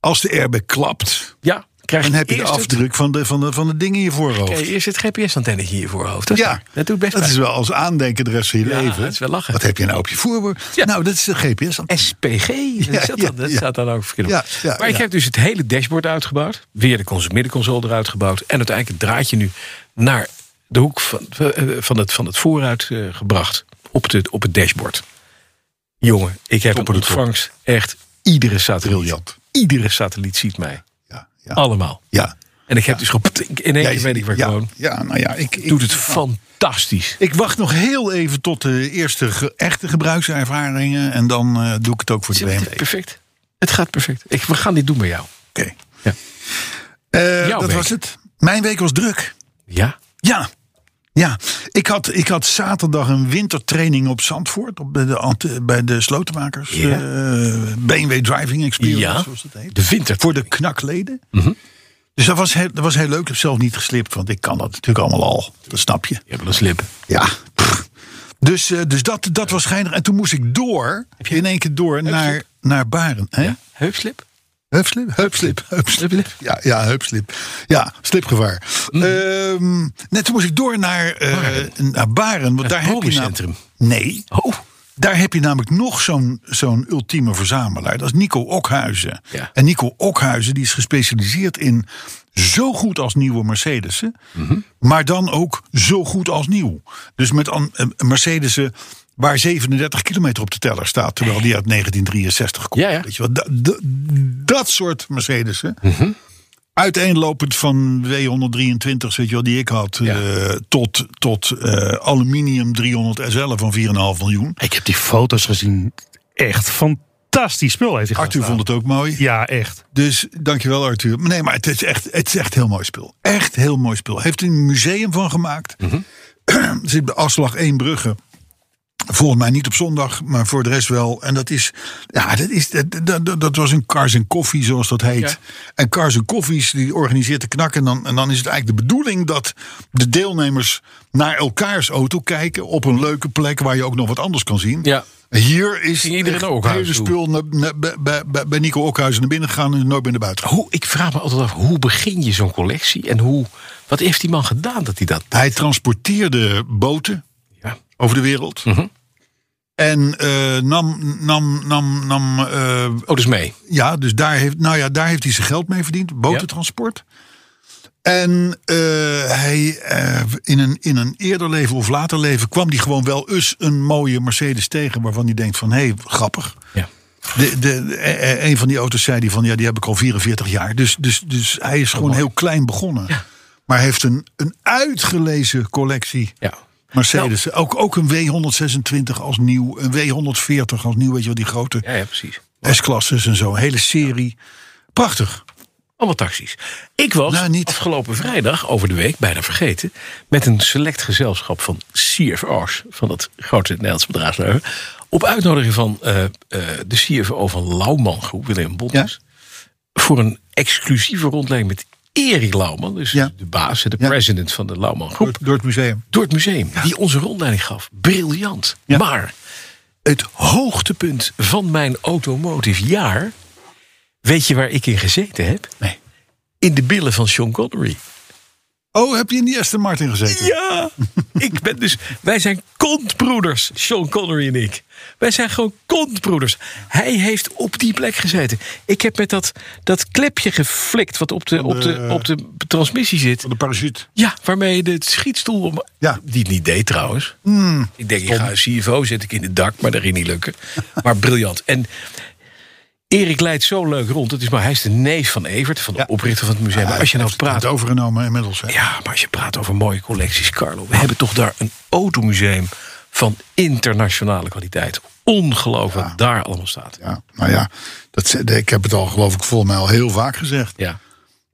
B: als de airbag klapt,
C: Ja, krijg
B: dan heb je de
C: eerst het-
B: afdruk van de, van de, van de dingen in je
C: krijg
B: voorhoofd.
C: je eerst het GPS-antennetje in je voorhoofd. Dat, is
B: Ja,
C: waar. dat doet best
B: Dat
C: pijn.
B: is wel als aandenken de rest van je
C: Ja,
B: leven.
C: dat is wel lachen.
B: Wat heb je nou op je voorhoofd?
C: Ja.
B: Nou, dat is de GPS.
C: SPG. dat
B: Ja,
C: zat,
B: ja,
C: dan, dat
B: ja.
C: staat dan ook verkeerd op.
B: Ja, ja,
C: maar ik
B: ja.
C: heb dus het hele dashboard uitgebouwd. Weer de cons- middenconsole eruit gebouwd. En uiteindelijk het draadje nu naar de hoek van, eh, van, het, van het vooruit eh, gebracht. Op, de, op het dashboard. Jongen, ik heb een
B: Topper de top.
C: ontvangst. Echt iedere satelliet.
B: Briljant.
C: Iedere satelliet ziet mij.
B: Ja, ja,
C: Allemaal.
B: ja.
C: En ik heb dus gewoon... In één keer weet Oh. ik waar ik
B: ja,
C: woon.
B: Ja, nou ja, ik, ik,
C: Doet het fantastisch.
B: ik wacht nog heel even tot de eerste ge- echte gebruikservaringen. En dan eh, doe ik het ook voor de
C: Het is
B: BMW.
C: perfect. Het gaat perfect. Ik, we gaan dit doen bij jou.
B: Oké.
C: Ja.
B: Eh,
C: Jouw
B: dat
C: week.
B: was het. Mijn week was druk.
C: Ja?
B: Ja. Ja, ik had, ik had zaterdag een wintertraining op Zandvoort. Op de, de, ant- bij de slotenmakers.
C: Ja.
B: eh, BMW Driving Experience,
C: Ja.
B: zoals dat heet.
C: De winter.
B: Voor de knakleden. Dus dat was, heel, dat was heel leuk. Ik heb zelf niet geslipt, want ik kan dat natuurlijk allemaal al. Dat snap je.
C: Je hebt wel een slip.
B: Ja. pff. Dus, eh, dus dat, dat was geinig. En toen moest ik door, in één keer door, naar, naar Baren. Hè?
C: Heupslip?
B: Heupslip? Heupslip, heupslip.
C: Heupslip?
B: Ja, ja, heupslip. Ja, slipgevaar. Ehm, net toen moest ik door naar, eh, naar Baren. Want
C: Het
B: daar heb je
C: Bodencentrum.
B: namelijk, Nee,
C: Oh.
B: daar heb je namelijk nog zo'n zo'n ultieme verzamelaar. Dat is Nico Okhuizen.
C: Ja.
B: En Nico Okhuizen die is gespecialiseerd in zo goed als nieuwe Mercedes'en.
C: Mhm.
B: Maar dan ook zo goed als nieuw. Dus met an- eh, Mercedes'en waar 37 kilometer op de teller staat. Terwijl die uit 1963 komt.
C: Ja, ja.
B: Weet je wel, da- da- dat soort Mercedes'en.
C: Mhm.
B: Uiteenlopend van W123's, weet je wel, die ik had, eh, tot, tot eh, aluminium 300 SL van 4,5 miljoen.
D: Ik heb die foto's gezien. Echt fantastisch spul heeft hij
B: Arthur vond het ook mooi.
D: Ja, echt.
B: Dus dankjewel Arthur. Maar Nee, maar het is, echt, het is echt heel mooi spul. Echt heel mooi spul. Heeft er een museum van gemaakt.
C: Mhm.
B: *clears throat* Zit bij Afslag 1 Brugge. Volgens mij niet op zondag, maar voor de rest wel. En dat is, ja, dat, is, dat, dat- dat, dat was een Cars en Koffie, zoals dat heet.
C: Ja.
B: En Cars en Koffies, die organiseert de knak. En dan, en dan is het eigenlijk de bedoeling dat de deelnemers naar elkaars auto kijken. Op een leuke plek waar je ook nog wat anders kan zien.
C: Ja.
B: Hier is
C: Ging iedereen naar
B: echt
C: Ockhuizen
B: hele
C: toe?
B: spul naar, naar- bij- bij, bij, bij Nico Okhuizen naar binnen gegaan en nooit meer naar buiten.
C: Hoe, ik vraag me altijd af, hoe begin je zo'n collectie? En hoe, wat heeft die man gedaan dat hij dat...
B: Hij transporteerde boten
C: Ja.
B: over de wereld. En eh, nam, nam, nam, nam eh,
C: Oh, dus mee.
B: ja, dus daar heeft, nou ja, daar heeft hij zijn geld mee verdiend. Botertransport. En eh, hij, eh, in, een, in een eerder leven of later leven kwam hij gewoon wel eens een mooie Mercedes tegen. Waarvan hij denkt van, hé, hey, grappig.
C: Ja.
B: De, de, e- e- een van die auto's zei hij van, ja, die heb ik al 44 jaar. Dus, dus, dus hij is gewoon heel klein begonnen. Maar heeft een, een uitgelezen collectie
C: ja.
B: Mercedes. ook, ook een W126 als nieuw. Een W140 als nieuw, weet je wel, die grote.
C: Ja, ja, precies.
B: S-klasses en zo. Een hele serie. Prachtig.
C: Allemaal taxis. Ik was
B: Nou, niet.
C: afgelopen vrijdag, over de week, bijna vergeten... met een select gezelschap van CFO's... van dat grote Nederlandse bedrijfsleven... op uitnodiging van eh, eh, de CFO van Lauwman Groep, Willem Bontes... voor een exclusieve rondleiding met Erik Lauwman... dus
B: Ja.
C: de baas, de
B: Ja.
C: president van de Lauwman
B: Door,
C: Groep...
B: door het museum.
C: door het museum, die onze rondleiding gaf. Briljant.
B: Ja.
C: Maar het hoogtepunt van mijn automotive jaar... weet je waar ik in gezeten heb?
B: Nee.
C: in de billen van Sean Connery.
B: Oh, heb je in die Aston Martin gezeten?
C: Ja, *laughs* ik ben dus. Wij zijn kontbroeders, Sean Connery en ik. Wij zijn gewoon kontbroeders. Hij heeft op die plek gezeten. Ik heb met dat, dat klepje geflikt wat op de, op, de, op de transmissie zit.
B: Van de parachute.
C: Ja, waarmee je de schietstoel om.
B: Ja. Hmm.
C: Die het niet deed trouwens. Ik denk, ik ga CFO zet ik in het dak, maar dat ging niet lukken. *laughs* Maar briljant. En Erik leidt zo leuk rond. Het is maar, hij is de neef van Evert, van de
B: Ja. Ah,
C: oprichter van het museum. Maar als je nou
B: Heeft
C: praat
B: Het overgenomen inmiddels. hè?
C: ja, maar als je praat over mooie collecties, Carlo. We hebben toch daar een automuseum van internationale kwaliteit. Ongelooflijk wat daar allemaal staat.
B: Ja, nou ja, dat, ze- ik heb het al geloof ik volgens mij al heel vaak gezegd.
C: Ja,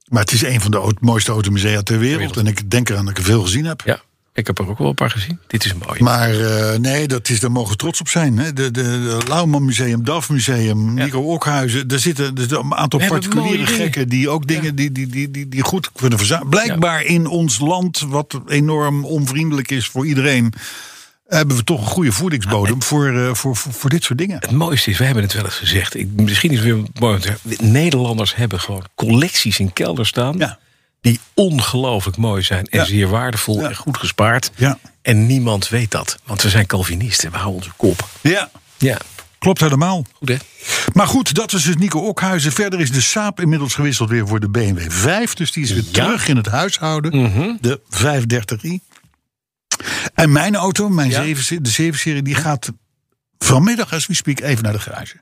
B: Maar het is een van de au- mooiste automusea ter wereld. En ik denk eraan dat ik er veel gezien heb.
C: ja. Ik heb er ook wel een paar gezien. Dit is mooi.
B: Maar eh, nee, dat is, daar mogen we trots op zijn. Hè. De, de, de Lauwman Museum, DAF Museum,
C: Ja.
B: Nico Okhuizen. Daar zitten dus een aantal
C: We hebben
B: particuliere
C: mooie dingen.
B: gekken die ook dingen die, die, die, die, die goed kunnen verzamelen. Blijkbaar in ons land, wat enorm onvriendelijk is voor iedereen, hebben we toch een goede
C: Ah,
B: voedingsbodem voor, eh, voor, voor, voor dit soort dingen.
C: het mooiste is, we hebben het wel eens gezegd. Ik, misschien is het weer mooi. om te zeggen, Nederlanders hebben gewoon collecties in kelder staan.
B: Ja.
C: Die ongelooflijk mooi zijn. En
B: Ja.
C: zeer waardevol
B: Ja.
C: en goed gespaard.
B: Ja.
C: En niemand weet dat. Want we zijn Calvinisten. We houden onze kop.
B: Ja,
C: Ja,
B: klopt helemaal.
C: goed hè?
B: Maar goed, dat is dus Nico Okhuizen. Verder is de Saab inmiddels gewisseld weer voor de BMW 5. Dus die is weer
C: Ja. Mhm.
B: terug in het huishouden. De 530i. En mijn auto, mijn
C: Ja.
B: 7, de 7-serie, die gaat vanmiddag, als we speak, even naar de garage.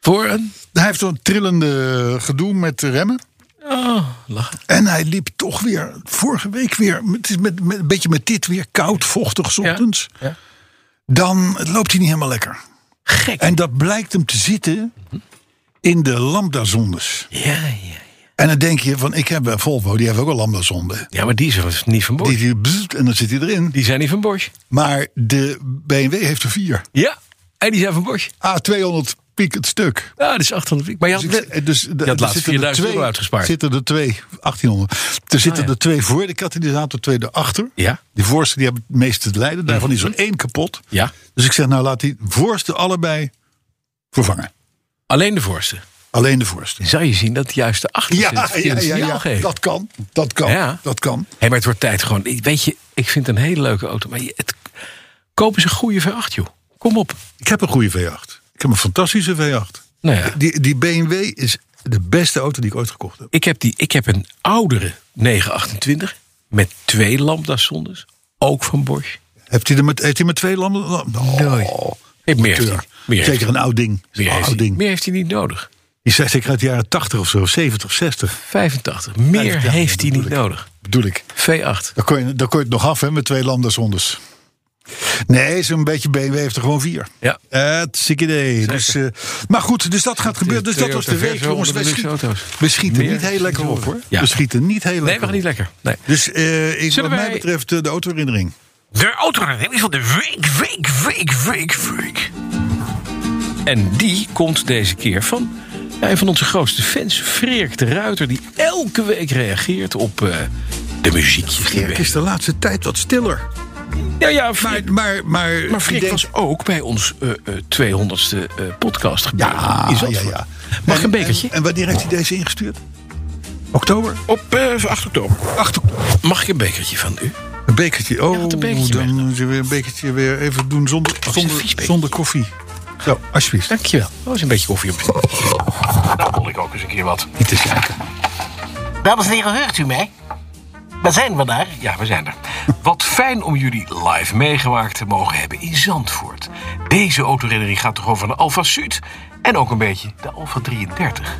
C: Voor een...
B: Hij heeft een trillende gedoe met de remmen.
C: Oh, lachen.
B: En hij liep toch weer, vorige week weer, het is met, met, een beetje met dit weer, koud, vochtig, 's ochtends.
C: Ja.
B: Dan loopt hij niet helemaal lekker.
C: Gek. Mhm.
B: En dat blijkt hem te zitten in de lambda-zondes.
C: Ja, ja.
B: En dan denk je van, ik heb een Volvo, die heeft ook een lambda-zonde.
C: Ja, maar die zijn niet van Bosch.
B: Die,
C: Die,
B: die, bzzzt, en dan zit hij erin.
C: zijn niet van Bosch.
B: Maar de BMW heeft er vier.
C: Ja, en die zijn van Bosch.
B: A200 piek het stuk.
C: Ja, dat is 800 piek. Maar je had,
B: Dus, ik- eh, dus
C: je had laatst 4000 euro uitgespaard. Oh,
B: Zitten er twee, 1800. Er zitten
C: ja.
B: er twee voor de katalysator, twee erachter.
C: Ja. Mhm.
B: Die voorste die hebben het meeste te lijden. Daarvan is er één kapot.
C: Ja,
B: Dus ik zeg, nou laat die voorste allebei vervangen.
C: alleen de voorste.
B: Alleen de voorste.
C: Dan zou je zien dat juist de
B: Ja,
C: achterste het
B: ja,
C: verkeerde
B: ja,
C: signaal
B: ja,
C: geeft.
B: dat kan. Dat kan.
C: Ja.
B: Dat kan.
C: Hé, maar het wordt tijd gewoon. Ik- Weet je, ik vind het een hele leuke auto. Maar je- het, koop eens een goede V8, joh. Kom op.
B: Ik heb een goede V8. Ik heb een fantastische V8.
C: Nou ja.
B: Die, die BMW is de beste auto die ik ooit gekocht heb.
C: Ik heb, die, ik heb een oudere 928 met twee lambda-zondes. Ook van Bosch.
B: Heeft hij er met, heeft hij met twee landen? Oh,
C: Nee, meer heeft
B: keur.
C: hij. Meer heeft
B: Zeker
C: hij.
B: een oud ding.
C: Meer
B: Een oud
C: heeft hij.
B: ding.
C: Meer heeft hij niet nodig.
B: Die is zeker uit de jaren 80 of zo. 70, 60.
C: 85. Meer
B: 85,
C: heeft hij
B: bedoel
C: niet
B: ik.
C: nodig.
B: Bedoel ik.
C: V8.
B: Dan kon, je, dan kon je het nog af hè, met twee lambdazonders. Nee, zo'n beetje BMW heeft er gewoon vier.
C: Ja.
B: Het ziek idee. Dus, eh, maar goed, dus dat gaat gebeuren. Dus dat was de
C: Toyota
B: week,
C: Verso
B: jongens.
C: onder
B: We
C: de luxe
B: schieten,
C: auto's.
B: we schieten
C: Meer
B: niet heel lekker op, hoor.
C: Ja.
B: We schieten niet heel lekker
C: Nee, we gaan niet lekker. Nee.
B: Dus eh, ik, wat
C: Zullen
B: mij
C: wij-
B: betreft eh, de autoherinnering.
C: De autoherinnering van de week, week, week, week, week. En die komt deze keer van een van onze grootste fans, Freek de Ruiter... die elke week reageert op eh, de muziekjes die
B: Dirk
C: we...
B: is de laatste tijd wat stiller.
C: Ja, ja, Freek-
B: Maar, maar, maar,
C: maar Freek
B: ik denk-
C: was ook bij ons eh, eh, 200ste eh, podcast gebeuren
B: Ja,
C: in
B: ja,
C: Zandvoort.
B: ja. En-
C: Mag ik een bekertje?
B: En, en wanneer heeft hij deze ingestuurd? Oktober?
C: Op eh 8 oktober.
B: 8 oktober.
C: Mag ik een bekertje van u?
B: Een bekertje.
C: Ja,
B: Oh,
C: wat een bekertje
B: dan
C: weg.
B: moeten we weer een bekertje weer even doen zonder,
C: een vies
B: zonder,
C: bekertje.
B: zonder koffie. Zo, alsjeblieft.
C: Dankjewel. Dat was Oh, een beetje koffie op. Nou kon ik ook eens een keer wat. Niet te kijken.
E: Dames en heren, hoort u mij? Waar zijn we daar?
C: Ja, we zijn er. Wat fijn om jullie live meegemaakt te mogen hebben in Zandvoort. Deze autorennerie gaat toch over de Alfa Sud en ook een beetje de Alfa 33.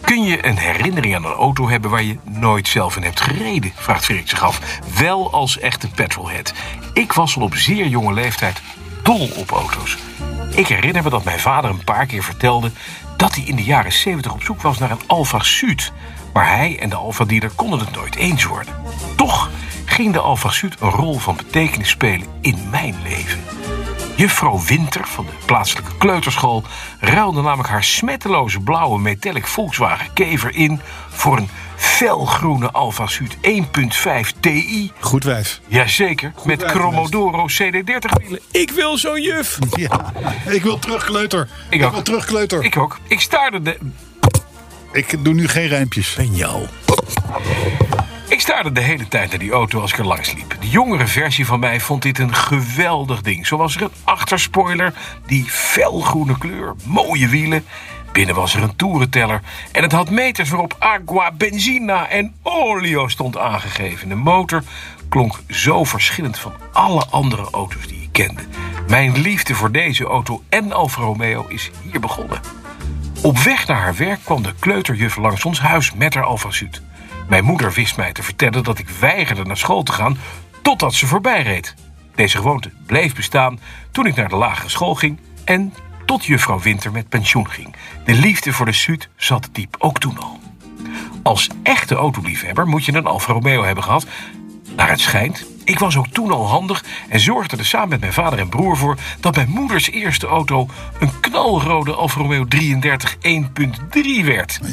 C: Kun je een herinnering aan een auto hebben waar je nooit zelf in hebt gereden? Vraagt Frederik zich af. Wel als echte petrolhead. Ik was al op zeer jonge leeftijd dol op auto's. Ik herinner me dat mijn vader een paar keer vertelde dat hij in de jaren 70 op zoek was naar een Alfa Sud. Maar hij en de Alfa dealer konden het nooit eens worden. Toch ging de Alfa Sud een rol van betekenis spelen in mijn leven. Juffrouw Winter van de plaatselijke kleuterschool ruilde namelijk haar smetteloze blauwe metallic Volkswagen Kever in voor een felgroene Alfa Sud 1.5 Ti.
B: Goed wijf. *laughs*
C: Jazeker, met
B: uitgelegd.
C: Chromodoro CD30 wielen. Ik wil zo'n juf!
B: Ja. Ik wil terug kleuter. Ik,
C: ook.
B: wil terug kleuter. Ik,
C: Ik ook. Ik staarde de,
B: doe nu geen rijmpjes.
C: ben jou. Ik staarde de hele tijd naar die auto als ik er langs liep. De jongere versie van mij vond dit een geweldig ding. Zo was er een achterspoiler, die felgroene kleur, mooie wielen. Binnen was er een toerenteller. En het had meters waarop agua, benzina en olio stond aangegeven. De motor klonk zo verschillend van alle andere auto's die ik kende. Mijn liefde voor deze auto en Alfa Romeo is hier begonnen. Op weg naar haar werk kwam de kleuterjuf langs ons huis met haar alfasuut. Mijn moeder wist mij te vertellen dat ik weigerde naar school te gaan totdat ze voorbij reed. Deze gewoonte bleef bestaan toen ik naar de lagere school ging en tot juffrouw Winter met pensioen ging. De liefde voor de suut zat diep ook toen al. Als echte autoliefhebber moet je een Alfa Romeo hebben gehad. Naar het schijnt. Ik was ook toen al handig en zorgde er samen met mijn vader en broer voor dat mijn moeders eerste auto een knalrode Alfa Romeo 33 1.3 werd.
B: Oh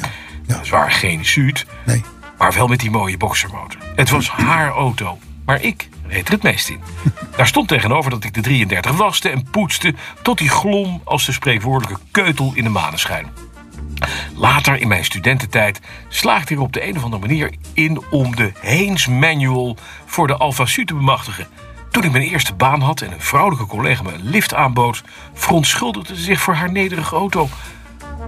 B: ja.
C: Zwaar geen Zuid,
B: Nee.
C: maar wel met die mooie boxermotor. Het was haar auto, maar ik reed er het
B: *laughs*
C: meest in. Daar stond tegenover dat ik de 33 waste en poetste tot die glom als de spreekwoordelijke keutel in de maneschijn. Later in mijn studententijd slaagde ik er op de een of andere manier in om de Haynes Manual voor de Alfa Su te bemachtigen. Toen ik mijn eerste baan had en een vrouwelijke collega me een lift aanbood, verontschuldigde ze zich voor haar nederige auto.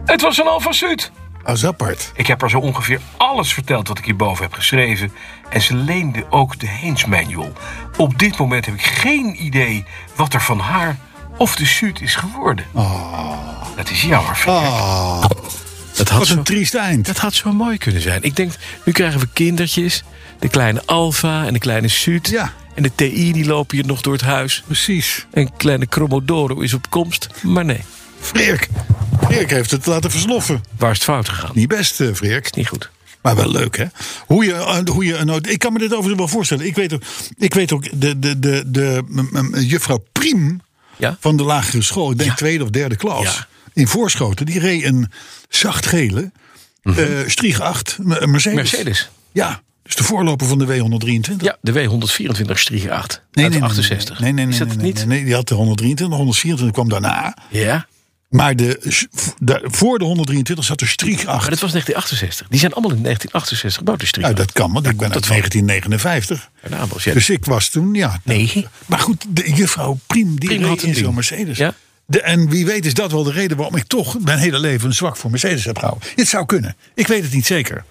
C: Het was een Alfa Sud.
B: Als apart.
C: Ik heb haar zo ongeveer alles verteld wat ik hierboven heb geschreven. En ze leende ook de Haynes Manual. Op dit moment heb ik geen idee wat er van haar of de Sud is geworden. Dat is jammer. Fred.
B: Ah,
C: Dat had
B: wat een triest eind.
C: dat had zo mooi kunnen zijn. Ik denk, nu krijgen we kindertjes. De kleine Alfa en de kleine Suut.
B: Ja.
C: En de TI die lopen hier nog door het huis.
B: Precies.
C: En kleine Chromodoro is op komst. Maar nee,
B: Freek. Freek heeft het laten versloffen.
C: waar is het fout gegaan?
B: Niet best, eh, Freek.
C: Niet goed.
B: Maar wel leuk, hè? Hoe je, eh, hoe je een auto- Ik kan me dit overigens wel voorstellen. Ik weet ook, ik weet ook de, de, de, de, m- m- juffrouw Priem
C: Ja?
B: van de lagere school, ik denk
C: Ja.
B: tweede of derde klas,
C: Ja.
B: in Voorschoten, die reed een zachtgele eh, Strieg 8 m- Mercedes.
C: Mhm. Mercedes.
B: Ja, dus de voorloper van de W123.
C: Ja, de W124 Striege 8. uit de 68.
B: Nee, nee, nee.
C: is dat
B: nee,
C: het
B: nee,
C: niet?
B: nee, nee, die had de 123, 124 kwam daarna.
C: Ja,
B: Maar de, s- v- de- voor de 123 zat de Strieg 8.
C: maar dat was 1968. Die zijn allemaal in 1968 gebouwd, de Striege
B: Nou, dat kan, want ik ben uit
C: dat van.
B: 1959.
C: Daarnaast, ja.
B: Dus ik was toen, ja.
C: Nee.
B: Maar goed, de juffrouw Priem, die
C: Priem
B: reed
C: had een
B: in zo'n
C: ding.
B: Mercedes.
C: Ja.
B: De, en wie weet is dat wel de reden waarom ik toch mijn hele leven een zwak voor Mercedes heb gehouden. Het zou kunnen. Ik weet het niet zeker.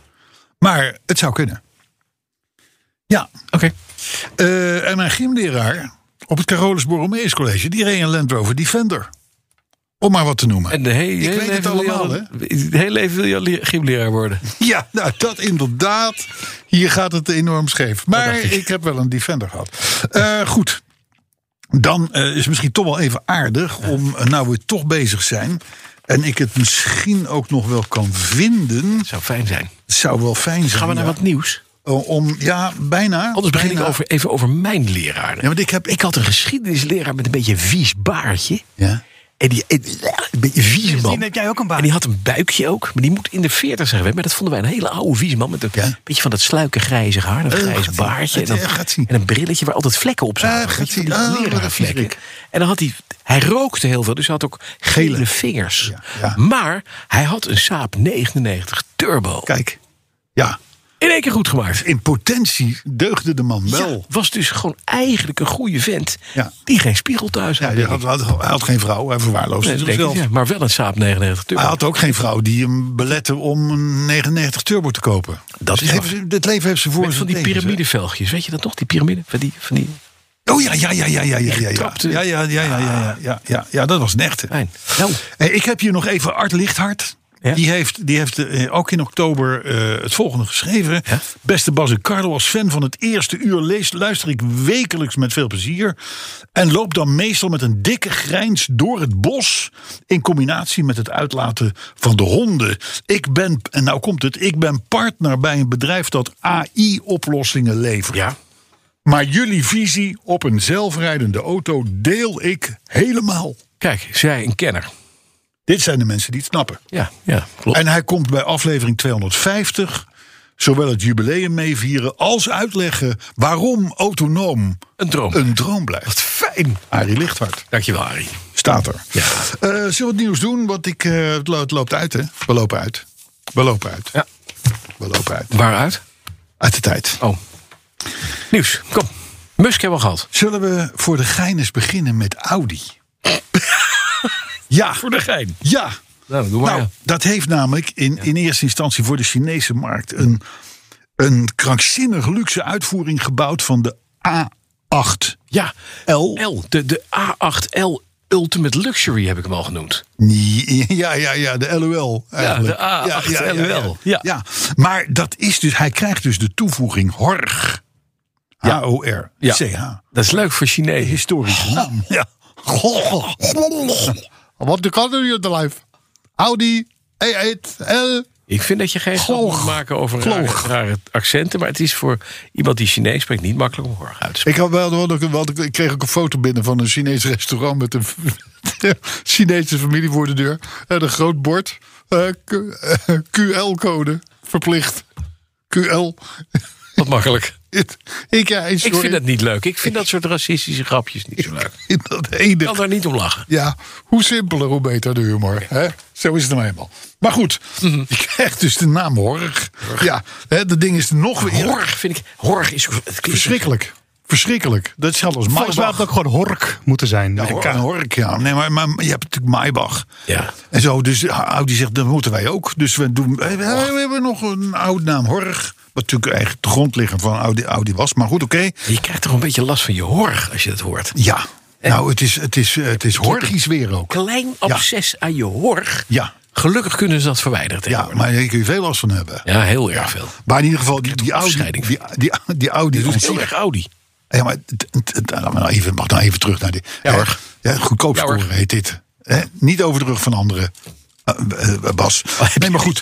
B: Maar het zou kunnen. Ja.
C: Oké.
B: eh, en mijn gymleraar op het Carolus Borromeus College, die reed een Land Rover Defender. Om maar wat te noemen.
C: En de hele,
B: Ik
C: hele
B: weet het
C: leven wil je
B: allemaal,
C: al- Het hele leven wil je al leer- gymleraar worden.
B: Ja, nou dat inderdaad. Hier gaat het enorm scheef. Maar ik. heb wel een Defender gehad. Eh, goed. Dan eh, is het misschien toch wel even aardig om, eh, nou we toch bezig zijn. En ik het misschien ook nog wel kan vinden.
C: Zou fijn zijn.
B: Het zou wel fijn zijn.
C: Gaan we naar
B: ja.
C: wat nieuws?
B: Oh, Om, ja, bijna.
C: Anders begin ik
B: Bijna.
C: over, even over mijn leraar.
B: Ja, want ik heb.
C: Ik had een geschiedenisleraar met een beetje een vies baardje.
B: Ja.
C: En die, en- een beetje een vieze man.
D: heb jij ook een baard.
C: En die had een buikje ook. Maar die moet in de 40 zijn geweest. Maar dat vonden wij een hele oude vieze man. Met een
B: Ja.
C: beetje van dat sluike grijze haar. Een grijs
B: gaat-ie.
C: baardje. En,
B: Gaat-ie,
C: dan-
B: gaat-ie.
C: en een brilletje waar altijd vlekken op
B: Ah,
C: zaten. Weet je,
B: gaat-ie.
C: van die
B: Ah, wat een
C: leraarvlekken.
B: viezerik.
C: En dan had hij... Hij rookte heel veel, dus hij had ook gele, vingers.
B: Ja, ja.
C: Maar hij had een Saab 99 Turbo.
B: Kijk. Ja.
C: in één keer goed gemaakt.
B: In potentie deugde de man wel.
C: Ja, was dus gewoon eigenlijk een goede vent
B: Ja.
C: die geen spiegel thuis
B: Ja,
C: had.
B: hij, had, had- hij had geen vrouw, hij verwaarloosde
C: Nee, dat denk ik,
B: zichzelf.
C: ja, maar wel een Saab 99 Turbo.
B: Hij had ook geen vrouw die hem belette om een 99 Turbo te kopen.
C: Dat
B: Dus
C: is
B: hebben ze- dit leven heeft ze voor
C: Met
B: en
C: van
B: zijn
C: die
B: tegen, hè?
C: piramidevelgjes, weet je dat nog? Die piramide van die, van die
B: Oh ja, ja, ja, ja, ja, ja, ja, ja.
C: getrapte-
B: Ja, ja, ja, ja, ja, ja, ja, ja, ja, dat was een echte.
C: pijn. Nou,
B: Hey, ik heb hier nog even Art Lichthart.
C: Ja.
B: Die heeft, die heeft eh, ook in oktober eh, het volgende geschreven. Beste Bas en Carlo, als fan van het eerste uur lees, luister ik wekelijks met veel plezier. En loop dan meestal met een dikke grijns door het bos. In combinatie met het uitlaten van de honden. Ik ben, en nou komt het, ik ben partner bij een bedrijf dat AI-oplossingen levert.
C: ja,
B: Maar jullie visie op een zelfrijdende auto deel ik helemaal.
C: kijk, zij een kenner.
B: Dit zijn de mensen die het snappen.
C: Ja, ja klopt.
B: En hij komt bij aflevering 250 zowel het jubileum meevieren als uitleggen waarom autonoom
C: Een droom.
B: een droom blijft.
C: Wat fijn.
B: Arie Lichthart
C: Dankjewel, Arie.
B: staat er. Eh zullen we wat nieuws doen? Want ik, eh, het lo- het loopt uit, hè? We lopen uit. We lopen uit.
C: Ja.
B: We lopen uit.
C: Waaruit?
B: Uit de tijd.
C: Oh. Nieuws, kom. Musk hebben we al gehad.
B: Zullen we voor de gein eens beginnen met
C: *laughs*
B: Audi? ja,
C: Voor de gein.
B: ja.
C: Nou, dan doen we
B: Nou,
C: maar.
B: dat heeft namelijk in, in eerste instantie voor de Chinese markt een, een krankzinnig luxe uitvoering gebouwd van de A8.
C: Ja,
B: L.
C: L, de, de A8L Ultimate Luxury heb ik hem al genoemd.
B: Nee, Ja, ja, ja, de LOL. Eigenlijk.
C: de A8 LOL,
B: Ja.
C: ja.
B: Ja, maar dat is dus, hij krijgt dus de toevoeging HORG. H-O-R.
C: Ja.
B: C-H.
C: Dat is leuk voor Chinezen.
B: Historisch naam. Ja. Wat de kan nu in de life? Audi E8 L.
C: Ik vind dat je geen grap
B: Gloog.
C: moet maken over rare,
B: Gloog.
C: rare accenten. Maar het is voor iemand die Chinees spreekt niet makkelijk om horg uit te spreken.
B: Ik, had wel, wel- wel- ik kreeg ook een foto binnen van een Chinees *laughs* restaurant met een *laughs* Chinese familie voor de deur. En een groot bord. eh, Q- eh, QL-code. Verplicht. QL.
C: Wat makkelijk.
B: Ik, ik, ja, sorry,
C: Ik vind dat niet leuk. Ik vind dat soort racistische grapjes niet zo leuk.
B: ik vind dat
C: Ik kan
B: enig.
C: daar niet om lachen.
B: Ja, hoe simpeler, hoe beter de humor. Hè? Zo is het nou eenmaal. Maar goed,
D: Mhm.
B: je krijgt dus de naam Horg. Ja, hè, dat ding is
D: Ah,
B: nog weer...
C: Horg vind ik... Horg is... Het klinkt-
B: Verschrikkelijk. Verschrikkelijk. Dat is zelfs
D: Volgens mij had
B: Maybach.
D: het ook gewoon hork moeten zijn. met een
B: Ja,
D: K.
B: Hork, ja. Nee, maar, maar je hebt natuurlijk Maybach.
C: Ja.
B: En zo, dus Audi zegt, dat moeten wij ook. Dus we, doen, we, we hebben nog een oud naam, Horg. Wat natuurlijk eigenlijk de grondligger van Audi, Audi was. Maar goed, oké.
C: Je krijgt toch een beetje last van je horg als je dat hoort.
B: Ja. Nou, het is, het is, eh, het is horgisch weer ook.
C: Klein absces aan je horg.
B: Ja.
C: Gelukkig kunnen ze dat verwijderen
B: Ja,
C: tegenwoordig.
B: maar daar kun je veel last van hebben.
C: Ja, heel erg veel.
B: Maar in ieder geval, die, die Audi...
C: afscheiding
B: Die, die, die Audi...
C: Doe
B: aan
C: het heel
B: zich-
C: erg Audi. *laughs*
B: Ja, maar het- het- het- laat me nou even, mag nou even terug naar dit.
C: Ja, hoor.
B: Ja, goedkoop
C: Ja, hoor.
B: scoren heet dit. Hè? Niet over de rug van anderen. Eh, eh, Bas.
C: Oh,
B: Nee, maar goed.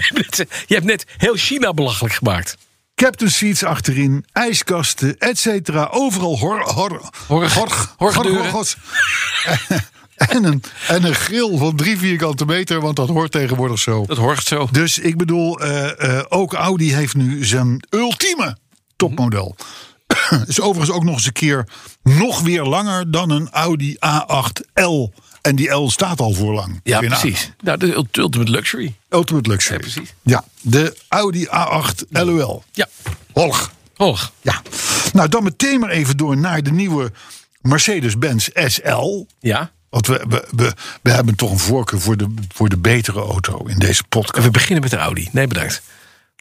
C: Je hebt net heel China belachelijk gemaakt.
B: Captain seats achterin, ijskasten, et cetera. Overal hor, hor,
C: Horg- horgdeuren.
B: horgos. *laughs* en, een, en een grill van drie vierkante meter, want dat hoort tegenwoordig zo.
C: Dat horgt zo.
B: Dus ik bedoel, eh, eh, ook Audi heeft nu zijn ultieme topmodel. *coughs* Is overigens ook nog eens een keer nog weer langer dan een Audi A8L. En die L staat al voor lang.
C: Ja,
B: Weer na.
C: precies. Nou, de ult- ultimate luxury.
B: Ultimate Luxury.
C: Ja, precies.
B: Ja, de Audi A8 LOL.
C: Ja.
B: Holg.
C: Hoog.
B: Ja. Nou, dan meteen maar even door naar de nieuwe Mercedes-Benz SL.
C: Ja.
B: Want we, we, we, we hebben toch een voorkeur voor de, voor de betere auto in deze podcast.
C: We beginnen met de Audi. Nee, bedankt.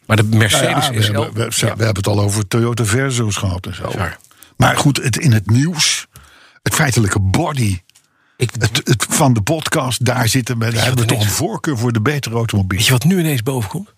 C: Maar de Mercedes
B: Ja, we,
C: SL...
B: hebben, we, we
C: Ja.
B: hebben het al over Toyota Verso's gehad en zo.
C: Zwaar.
B: Maar goed, het, in het nieuws, het feitelijke body het, het, van de podcast, daar zitten we, daar hebben we
C: wat
B: toch een
C: ineens-
B: voorkeur voor de betere
C: Weet
B: automobiel.
C: je wat nu ineens boven komt?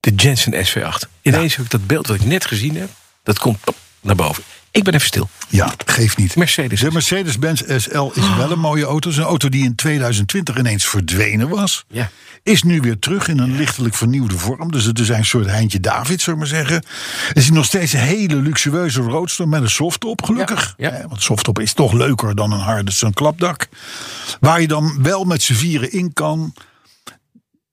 C: De Jensen SV8. Ineens heb ik dat beeld wat ik net gezien heb. Dat komt pop, naar boven. Ik ben even stil.
B: Ja, geeft niet.
C: Mercedes.
B: De Mercedes-Benz SL is wel een mooie auto. Het is een auto die in 2020 ineens verdwenen was.
C: Ja.
B: Is nu weer terug in een lichtelijk vernieuwde vorm. Dus het is een soort Heintje David, zou ik maar zeggen. Het is nog steeds een hele luxueuze roadster met een softtop, gelukkig.
C: Ja, ja.
B: Eh, Want softtop is toch leuker dan een harde zo'n klapdak. Waar je dan wel met z'n vieren in kan.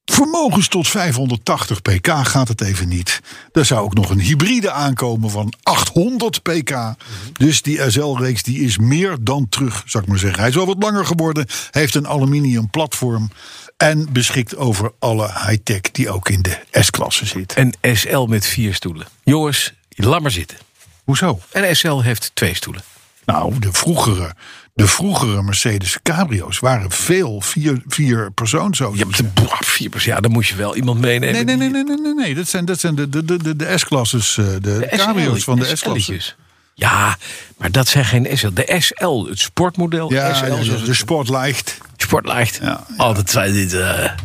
B: Vermogens tot 580 pk gaat het even niet. Er zou ook nog een hybride aankomen van 800 pk.
C: Mhm.
B: Dus die SL-reeks die is meer dan terug, zou ik maar zeggen. Hij is wel wat langer geworden, heeft een aluminium platform. En beschikt over alle high-tech die ook in de S-klasse zit.
C: Een SL met vier stoelen. Jongens, laat maar zitten.
B: Hoezo?
C: Een SL heeft twee stoelen.
B: Nou, de vroegere, de vroegere Mercedes Cabrio's waren veel vier, vier persoonsauto's.
C: Je hebt een boah, vier pers- Ja, dan moet je wel iemand meenemen.
B: Nee, nee, nee, nee, nee, nee, nee. Dat zijn, dat zijn de, de, de, de- de S-klasses, eh, de,
C: De
B: cabrio's
C: SL
B: van de S-klasse.
C: SL'tjes. Ja, maar dat zijn geen SL. De SL, het sportmodel.
B: Ja,
C: SL,
B: ja,
C: zoals
B: de,
C: het
B: de sportlicht.
C: sportlijkt.
B: Ja, ja.
C: Altijd zijn dit... eh,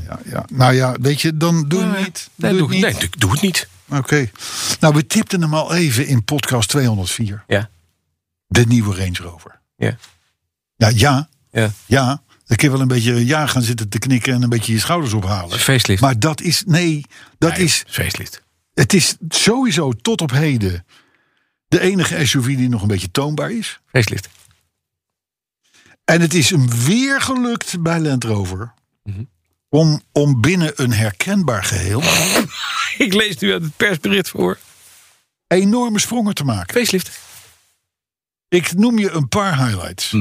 B: Ja, ja. Nou ja, weet je, dan doe het niet.
C: Nee,
B: doe
C: doe,
B: het niet.
C: nee, doe, doe het niet.
B: Oké. Nou, we tipten hem al even in podcast 204.
C: Ja.
B: De nieuwe Range Rover.
C: Ja.
B: Ja, ja,
C: ja.
B: ja. Dan kun je wel een beetje ja gaan zitten te knikken en een beetje je schouders
C: Het
B: ophalen.
C: is facelift.
B: Maar dat is, nee, dat
C: Nee,
B: is,
C: het facelift.
B: het is sowieso tot op heden de enige SUV die nog een beetje toonbaar is.
C: Facelift. *laughs*
B: En het is hem weer gelukt bij Land Rover. Om, om binnen een herkenbaar geheel
C: Ik lees nu uit het persbericht voor.
B: enorme sprongen te maken.
C: Facelift.
B: Ik noem je een paar highlights.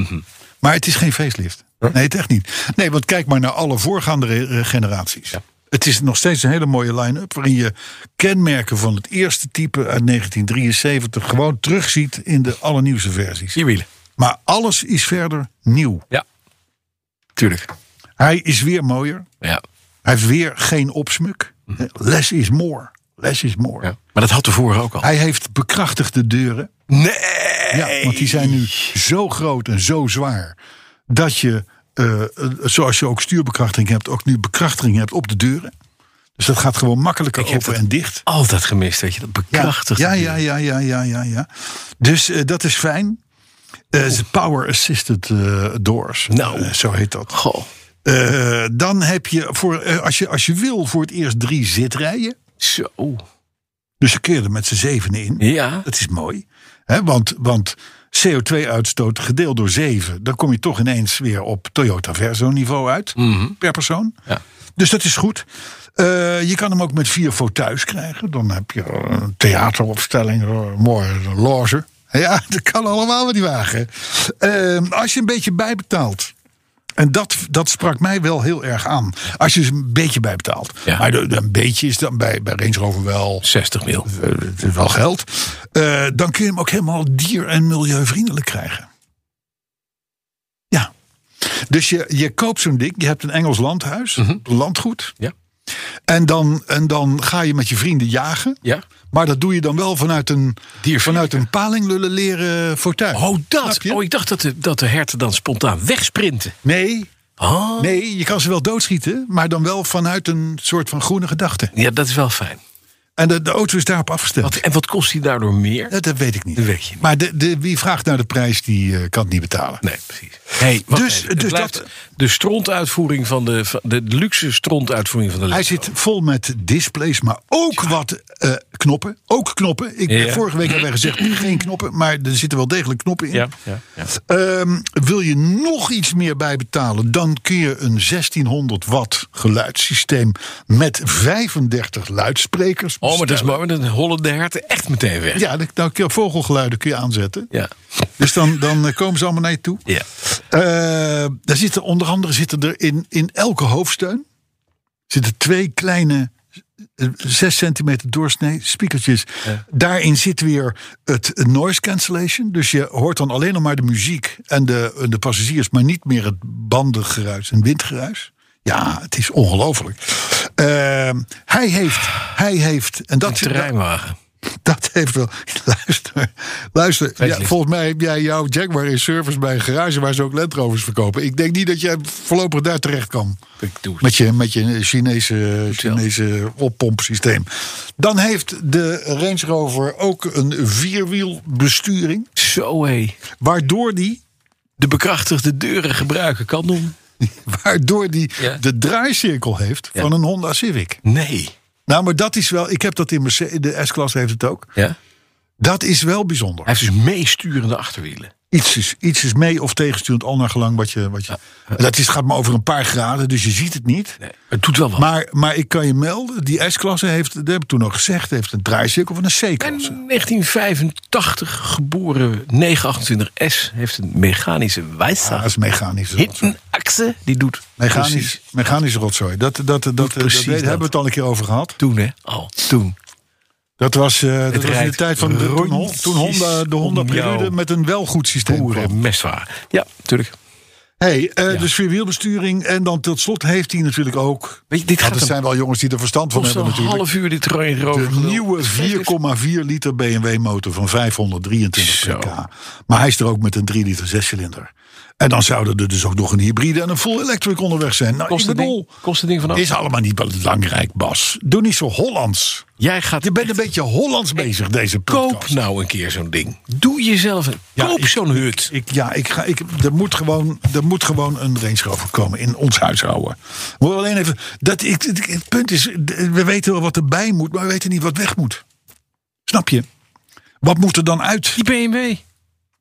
B: Maar het is geen facelift. Nee, het echt niet. Nee, want kijk maar naar alle voorgaande re- eh, generaties. Het is nog steeds een hele mooie line-up... waarin je kenmerken van het eerste type uit 1973... gewoon terugziet in de allernieuwste versies.
C: Vier wielen.
B: Maar alles is verder nieuw.
C: Ja. Tuurlijk.
B: Hij is weer mooier.
C: Ja.
B: Hij heeft weer geen opsmuk. Less is more. Less is more.
C: Mhm. ja. Maar dat had tevoren ook al.
B: Hij heeft bekrachtigde deuren.
C: Nee.
B: Ja, want die zijn nu zo groot en zo zwaar. Dat je, eh, eh, zoals je ook stuurbekrachtiging hebt, ook nu bekrachtiging hebt op de deuren. Dus dat gaat gewoon makkelijker
C: Ik heb
B: open
C: dat
B: en dicht.
C: Altijd gemist, weet je. Dat bekrachtigt.
B: Ja, ja, ja, ja, ja, ja. ja. Dus eh, dat is fijn. Eh, ze power assisted eh, doors.
C: Nou.
B: Eh, zo heet dat.
C: Goh.
B: Eh, dan heb je, voor, eh, als je, als je wil, voor het eerst drie zitrijden.
C: Zo.
B: Dus ze keerden met z'n zevenen in.
C: Ja.
B: Dat is mooi. Hè? Want, want CO2-uitstoot gedeeld door 7, dan kom je toch ineens weer op Toyota Verso niveau uit. Per persoon.
C: Mhm. Ja.
B: Dus dat is goed. Eh, je kan hem ook met vier fauteuils krijgen. Dan heb je een theateropstelling, eh, een mooie loge. Ja, *laughs* dat kan allemaal met die wagen. Eh, als je een beetje bijbetaalt. En dat, dat sprak mij wel heel erg aan. Als je dus een beetje bijbetaalt.
C: Ja.
B: Maar de- de- een beetje is dan bij, bij Range Rover wel
C: 60 mil.
B: eh, het is wel geld. Eh, dan kun je hem ook helemaal dier- en milieuvriendelijk krijgen. Ja. Dus je, je koopt zo'n ding. Je hebt een Engels landhuis, landgoed.
C: Mhm. Ja.
B: En dan, en dan ga je met je vrienden jagen.
C: Ja.
B: Maar dat doe je dan wel vanuit een,
C: Diervriendelijk.
B: vanuit een palinglullen leren fortuin.
C: Oh,
B: Snap
C: dat.
B: je?
C: Oh, ik dacht dat de, dat de herten dan spontaan wegsprinten.
B: Nee,
C: Oh.
B: nee, je kan ze wel doodschieten. Maar dan wel vanuit een soort van groene gedachte.
C: Ja, dat is wel fijn.
B: En de, de auto is daarop afgesteld.
C: Wat, en wat kost die daardoor meer?
B: Dat, dat weet ik niet.
C: Dat weet je niet.
B: Maar de, de, wie vraagt naar de prijs, die eh, kan het niet betalen.
C: Nee, precies. Hey, wacht
B: Dus-
C: even. Het
B: dus
C: blijft
B: dat-
C: De strontuitvoering van de, van de luxe strontuitvoering van de
B: Hij
C: luxe.
B: zit vol met displays, maar ook wat eh, knoppen. Ook knoppen. Ik,
C: Ja.
B: Vorige week hebben wij gezegd
C: *clears throat*
B: geen knoppen, maar er zitten wel degelijk knoppen in.
C: Ja, ja, ja.
B: Ehm, wil je nog iets meer bijbetalen, dan kun je een 1600 watt geluidssysteem met 35 luidsprekers.
C: Oh, maar dat is
B: bestellen.
C: mooi. want Dan hollen de herten echt meteen weg.
B: Ja, dan- dan kun je vogelgeluiden kun je aanzetten.
C: Ja.
B: Dus dan, dan eh, komen ze allemaal naar je toe.
C: Ja.
B: Eh, daar zitten onder andere zitten er in, in elke hoofdsteun zitten twee kleine eh, 6 centimeter doorsnee spiekertjes. Daarin zit weer het noise cancellation. Dus je hoort dan alleen nog maar de muziek en de, en de passagiers, maar niet meer het bandengeruis en windgeruis. Ja, het is ongelooflijk. Eh, hij heeft, hij heeft, en dat,
C: Terreinwagen.
B: dat heeft wel. *laughs* Luister, luister. Ja,
C: Facelift.
B: volgens mij heb jij jouw Jaguar in service bij een garage waar ze ook Land Rovers verkopen. Ik denk niet dat jij voorlopig daar terecht kan.
C: Ik doe het.
B: Met je, met je Chinese, Chinese oppompsysteem. Dan heeft de Range Rover ook een vierwielbesturing. *laughs*
C: Zo hé.
B: Waardoor die,
C: De bekrachtigde deuren gebruiken kan doen.
B: waardoor die
C: Ja.
B: de draaicirkel heeft van een Honda Civic.
C: Nee.
B: Nou, maar dat is wel. Ik heb dat in Mercedes. De S-klasse heeft het ook.
C: Ja?
B: Dat is wel bijzonder.
C: Hij heeft dus meesturende achterwielen.
B: Iets is, iets is mee of tegensturend, al naar gelang wat je. Wat je Dat is, gaat maar over een paar graden, dus je ziet het niet.
C: Nee, het doet wel wat.
B: Maar, maar ik kan je melden, die S-klasse heeft, dat heb ik toen al gezegd, heeft een draaicirkel van een
C: En
B: C-klasse.
C: 1985 geboren 928S heeft een mechanische
B: Ja, dat
C: wijsheid.
B: is mechanische rotzooi.
C: Hittenakse, die doet
B: Mechanisch,
C: precies
B: mechanische rotzooi. Dat, dat, dat, dat, dat,
C: precies
B: daar
C: dat.
B: hebben we het al een keer over gehad.
C: toen, hè? Al toen.
B: Dat was, eh, dat was in de
C: rijdt
B: tijd van de, toen, Hon-
C: rondjes
B: toen Honda, de Honda
C: om jou.
B: Prelude met een wel goed systeem kwam.
C: Boeren, mestwaar. Ja, natuurlijk.
B: Hey, eh dus vierwielbesturing. En dan tot slot heeft hij natuurlijk ook.
C: Weet je, dit
B: Want
C: gaat
B: het
C: hem
B: zijn wel jongens die er verstand van
C: kost
B: hebben
C: een
B: natuurlijk.
C: half uur dit Range Rover.
B: de
C: gelul. *laughs*
B: nieuwe 4,4 liter BMW motor van 523
C: Zo.
B: pk. Maar hij is er ook met een 3 liter zescilinder. En dan zouden er dus ook nog een hybride en een full electric onderweg zijn. Nou,
C: Kost
B: ik
C: het
B: bedoel,
C: ding, kost het ding vanaf?
B: is allemaal niet belangrijk, Bas. Doe niet zo Hollands.
C: Jij gaat
B: Je bent een beetje Hollands bezig, deze podcast.
C: koop nou een keer zo'n ding. Doe jezelf een
B: Ja,
C: koop
B: ik-
C: zo'n hut.
B: Ik, ja, ik ga, ik, er, moet gewoon, er moet gewoon een Range Rover komen in ons huishouden. We willen alleen even, dat, ik, het- het punt is, d- we weten wel wat erbij moet, maar we weten niet wat weg moet. Snap je? Wat moet er dan uit?
C: Die BMW.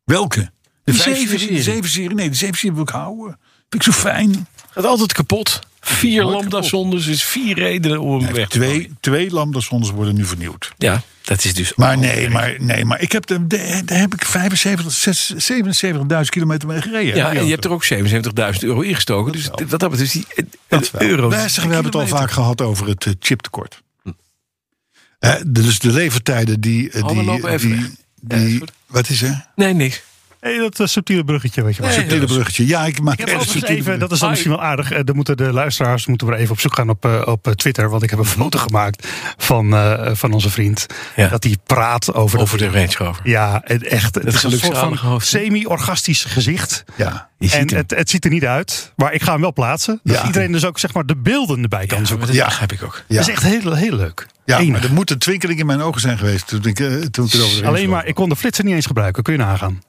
B: Welke? De
C: Die
B: vijf-
C: 7-serie.
B: De 7-serie? Nee, de 7-serie wil ik houden. Vind ik zo fijn.
C: Gaat altijd kapot. Vier
B: Nooit
C: lambda-zondes is vier redenen om hem
B: Hij
C: weg
B: heeft
C: te gooien.
B: Twee, twee lambda-zondes worden nu vernieuwd.
C: Ja, dat is dus...
B: Maar nee, maar, nee, maar ik heb, de, de- daar heb ik 75, 6 77.000 kilometer mee gereden. Die
C: ja, en je
B: auto.
C: hebt er ook 77.000 euro ingestoken. Dus dat dat betreft die eh,
B: Dat
C: eh,
B: wel.
C: euro.
B: Wij zeggen, we hebben het al
C: kilometer.
B: vaak gehad over het eh, chiptekort. Eh, dus de levertijden die. eh,
C: Oh, we
B: die,
C: lopen even
B: die,
C: weg.
B: die-
C: Ja, is goed.
B: wat is er?
C: Nee, niks.
D: Nee, dat eh, subtiele bruggetje, weet je wel.
C: Nee.
B: Subtiele bruggetje. Ja, ik maak
D: Ik
B: echt
D: heb altijd
B: subtiele
D: even, dat is dan
C: Hi.
D: misschien wel aardig. Eh, Dan moeten de luisteraars moeten we er even op zoek gaan op, eh, op eh, Twitter. Want ik heb een foto gemaakt van, eh, van onze vriend.
C: Ja.
D: Dat hij praat over,
C: Over de Range Rover.
D: Ja, het echt. Het
C: is
D: is
C: een
D: een soort
C: luxalige
D: van
C: hoofd, hè?
D: semi-orgastisch gezicht.
B: brug- Ja.
C: Je ziet
D: En
C: hem.
D: het, het ziet er niet uit. Maar ik ga hem wel plaatsen. Dat
B: Ja.
D: iedereen dus ook zeg maar de beelden erbij kan
C: Ja,
D: zoeken.
C: maar dat
B: Ja.
C: begrijp ik ook.
B: Ja,
D: Dat is echt heel, heel leuk.
B: ja
D: Enig.
B: maar er moet een twinkeling in mijn ogen zijn geweest toen ik, eh, toen ik het over de
D: Alleen
B: Range
D: maar, ik kon de flitser niet eens gebruiken. Kun je nagaan.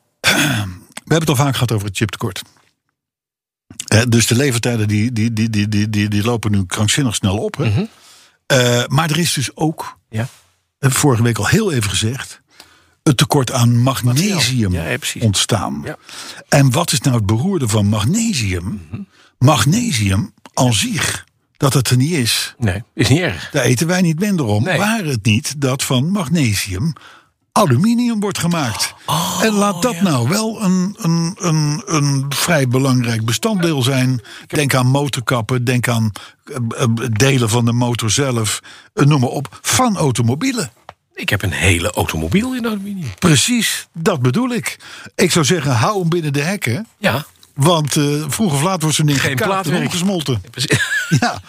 B: We hebben het al vaak gehad over het chiptekort. Eh, dus de levertijden die, die, die, die, die, die, die lopen nu krankzinnig snel op. Hè? Eh, maar er is dus ook,
C: Mhm. Ja.
B: eh, vorige week al heel even gezegd, het tekort aan magnesium
C: Ja, ja, precies.
B: ontstaan.
C: Ja.
B: En wat is nou het beroerde van magnesium?
C: Mhm.
B: Magnesium aan zich, dat het er niet is,
C: Nee, is niet erg.
B: daar eten wij niet minder om.
C: Nee.
B: Waar het niet dat van magnesium aluminium wordt gemaakt.
C: Oh,
B: en laat dat nou wel een, een, een, een vrij belangrijk bestanddeel zijn. Denk aan motorkappen, denk aan eh, eh, delen van de motor zelf. eh, Noem maar op, van automobielen.
C: Ik heb een hele automobiel in aluminium.
B: Precies, dat bedoel ik. Ik zou zeggen, hou hem binnen de hekken.
C: Ja.
B: Want eh, vroeg of laat wordt zo'n ding
C: Geen
B: gekaapt en
C: plaatwerk.
B: omgesmolten.
C: precies.
B: Ja,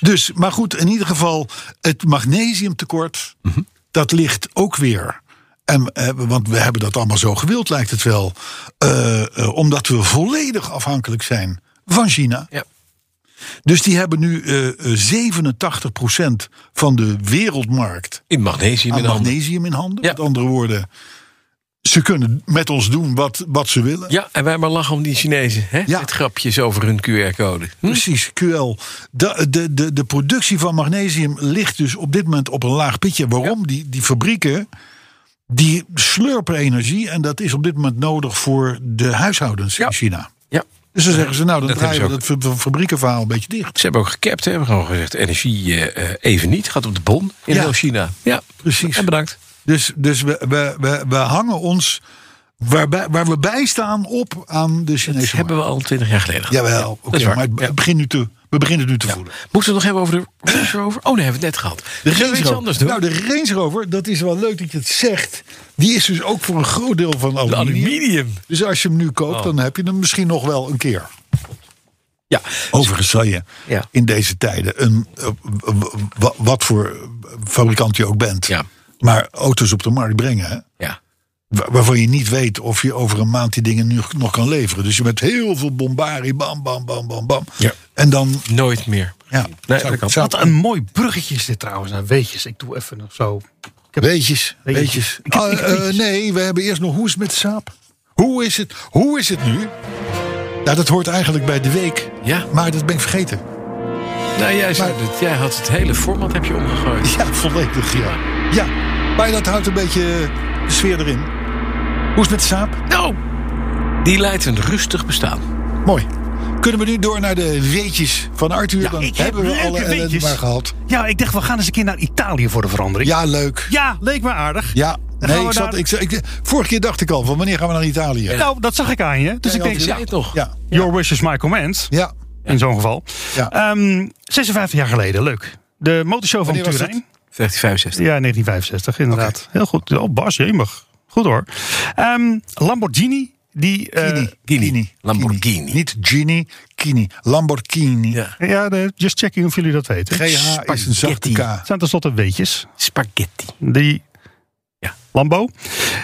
B: dus, maar goed, in ieder geval, het magnesiumtekort,
C: Mhm.
B: dat ligt ook weer. En, eh, want we hebben dat allemaal zo gewild, lijkt het wel. eh, eh, omdat we volledig afhankelijk zijn van China.
C: *laughs* Ja.
B: Dus die hebben nu eh, eh 87% van de wereldmarkt
C: In magnesium
B: aan
C: in de handen.
B: magnesium in handen.
C: Ja.
B: Met andere woorden, ze kunnen met ons doen wat, wat ze willen.
C: Ja, en wij maar lachen om die Chinezen. Hè?
B: Ja.
C: Met grapjes over hun QR-code. Hm?
B: Precies, QL. De, de, de, de productie van magnesium ligt dus op dit moment op een laag pitje. Waarom? Die, die fabrieken die slurpen energie en dat is op dit moment nodig voor de huishoudens
C: Ja.
B: in China.
C: Ja.
B: Dus dan zeggen ze, nou dan
C: Dat
B: draaien we
C: hebben
B: dat fa- fa- fabriekenverhaal een beetje dicht.
C: Ze hebben ook gekapt, hè? hebben gewoon gezegd: energie eh, eh, even niet. Gaat op de bon in
B: Ja.
C: heel China. Ja,
B: Precies.
C: En bedankt.
B: Dus, dus we, we, we, we hangen ons waarbij, waar we bij staan op aan de
C: Dat
B: Chinese markt.
C: hebben we al twintig jaar geleden. gedaan.
B: Jawel, oké,
C: is waar.
B: maar het be-
C: Ja.
B: het begint nu te, we beginnen het nu te voelen.
C: Moeten we het nog hebben over de Range Rover? Oh, nee, hebben we het net gehad.
B: De
C: Zullen we
B: Range
C: iets
B: Rover.
C: anders doen?
B: Nou, de Range Rover, dat is wel leuk dat je het zegt. Die is dus ook voor een groot deel van
C: de
B: aluminium.
C: aluminium.
B: Dus als je hem nu koopt,
C: Oh.
B: dan heb je hem misschien nog wel een keer.
C: Ja.
B: Overigens zal je
C: Ja.
B: in deze tijden, een, eh, w- w- wat voor fabrikant je ook bent,
C: Ja.
B: maar auto's op de markt brengen. hè,
C: ja.
B: wa- Waarvan je niet weet of je over een maand die dingen nu nog kan leveren. Dus je met heel veel bombarie, bam, bam, bam, bam, bam.
C: Ja.
B: En dan,
C: Nooit meer.
B: ja.
C: Nee, dat kan.
D: Wat een mooi bruggetje is dit trouwens. Nou, weetjes, ik doe even nog zo. Ik heb-
B: Weetjes,
D: Weetjes.
B: weetjes.
D: Ik heb- ik heb
B: Ah, eh,
D: weetjes.
B: nee, we hebben eerst nog hoe is het met de saap? Hoe is het, hoe is het nu? Ja, dat hoort eigenlijk bij de week.
C: Ja.
B: Maar dat ben ik vergeten. *laughs*
C: Nou, jij, zei
B: Maar-
C: het. jij had het hele format heb je omgegooid.
B: Ja, volledig, ja. Ja, maar dat houdt een beetje de sfeer erin. Hoe is het met de saap?
C: Nou, die leidt een rustig bestaan.
B: Mooi. Kunnen we nu door naar de weetjes van Arthur? Dan
D: ik heb
B: hebben we
D: leuke
B: alle ellende
D: weetjes.
B: maar gehad.
D: Ja, ik dacht, we gaan eens een keer naar Italië voor de verandering.
B: Ja, leuk.
D: Ja, leek me aardig.
B: Ja,
D: Dan
B: nee,
D: gaan
B: ik
D: we
B: zat,
D: daar-
B: ik, zat- ik, vorige keer dacht ik al van wanneer gaan we naar Italië? Ja,
D: Nou, dat zag ik aan je. Dus
B: Ja,
D: ik
B: ja,
D: denk,
B: ja.
C: Zei het toch?
B: ja.
D: your wish is my command.
B: ja.
D: In zo'n geval.
B: Ja.
D: Ehm, 56 jaar geleden, leuk. De motorshow van
B: Wanneer was
D: Turijn.
C: 1965.
D: Ja, 1965, inderdaad. Heel goed. Oh, Bas, jemig. Goed hoor. Ehm, Lamborghini, die... eh,
C: Gini. Lamborghini.
B: Kini. Niet Gini, Kini. Lamborghini.
C: Ja.
D: ja, de- just checking of jullie dat weten.
B: GH is een zachte
C: Spaghetti.
D: Het
B: K.
D: zijn tenslotte weetjes.
C: Spaghetti.
D: Die
C: Ja.
D: Lambo.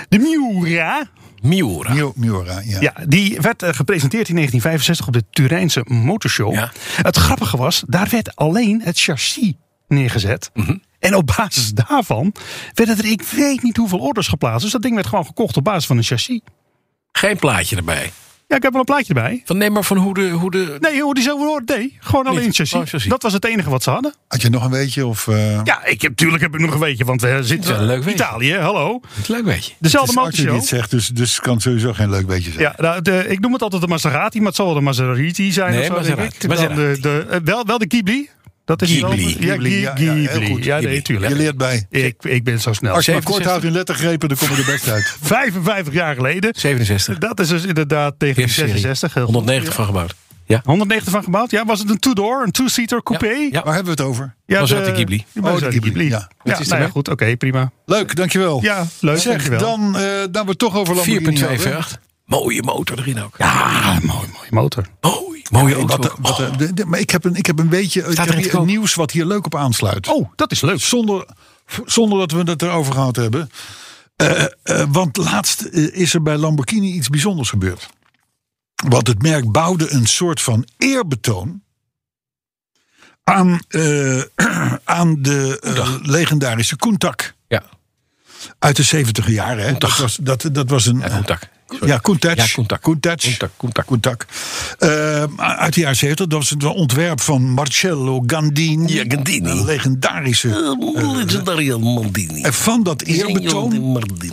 D: De Miura,
C: Miura.
B: Mio- Miura, ja.
D: ja, die werd eh, gepresenteerd in 1965 op de Turijnse Motorshow.
C: Ja.
D: Het grappige was, daar werd alleen het chassis neergezet.
C: Mhm.
D: En op basis daarvan werden er ik weet niet hoeveel orders geplaatst. Dus dat ding werd gewoon gekocht op basis van een chassis.
C: Geen plaatje erbij.
D: Ja, ik heb wel een plaatje erbij.
C: Van, nee, maar van hoe de... Hoe de
D: Nee, hoor, die zo hoort. Nee, gewoon alleen het
C: gewoon
D: chassis.
C: Oh, chassis.
D: Dat was het enige wat ze hadden.
B: Had je nog een weetje? Of, eh,
D: Ja, ik heb, tuurlijk heb ik nog een weetje, want we
C: wel
D: zitten
C: een
D: in
C: leuk weetje.
D: Italië, hallo.
C: Leuk weet je.
B: het
D: Dezelfde
B: is Arthur die
D: motorshow.
B: het zegt, dus, dus kan het sowieso geen leuk weetje zijn.
D: Ja, nou, de, ik noem het altijd de Maserati, maar het zal wel de Maserati zijn.
C: Nee,
D: of zo, denk
C: Maserati.
D: ik. Dan de, de, eh, wel, wel de Ghibli. Dat is wel-
C: Ghibli.
D: Ja,
B: Ghibli,
D: Ghibli.
B: ja,
D: Ja,
B: ja, heel goed.
D: nee,
C: Ghibli.
D: tuurlijk.
B: Je leert bij.
D: Ik, ik ben zo snel.
B: Als je maar
C: 67.
B: kort houdt in lettergrepen, dan kom je er best uit.
D: 55 jaar geleden.
C: 67.
D: Dat is dus inderdaad tegen die
C: Eerste serie.
D: 66. heel goed.
C: 190 van gebouwd. Ja.
D: 190 van gebouwd. Ja, was het een two-door, een two-seater coupé?
C: Ja. ja.
B: Waar hebben we het over?
D: Ja,
C: Maserati Ghibli.
D: de Maserati
B: Oh, de Ghibli, ja.
D: Ja,
B: Wat
D: ja,
C: is
D: nou
C: erbij?
D: ja, goed. Oké, prima.
B: Leuk, dankjewel.
D: Ja, leuk.
B: Zeg,
D: dankjewel.
B: dan, eh dan we het toch over Lamborghini hadden.
C: 4.2 Mooie motor erin ook. Ja.
D: Ah, mooi, mooi motor.
C: Mooi. Mooie auto.
B: Wat, eh, wat, eh, de- de- maar ik heb een, ik heb een beetje ik heb
C: erin
B: hier
C: te koop.
B: nieuws wat hier leuk op aansluit.
D: Oh, dat is leuk.
B: Zonder, zonder dat we het erover gehad hebben. Eh, eh, want laatst eh, is er bij Lamborghini iets bijzonders gebeurd. Want het merk bouwde een soort van eerbetoon. aan, eh, *clears throat* aan de eh, legendarische Koentak
C: ja.
B: uit de 70 jaren. Hè? Dat, was, dat, dat was een.
C: Ja, contact. Sorry.
B: Ja, Koentak.
C: Ja, Koentak.
B: Koentak.
C: Koentak, Koentak.
B: Koentak. Eh, uit de jaren 70. Dat was het ontwerp van Marcello Gandini.
C: Ja, Gandini.
B: Een legendarische.
C: Legendarian Mondini.
B: En van dat eerbetoon,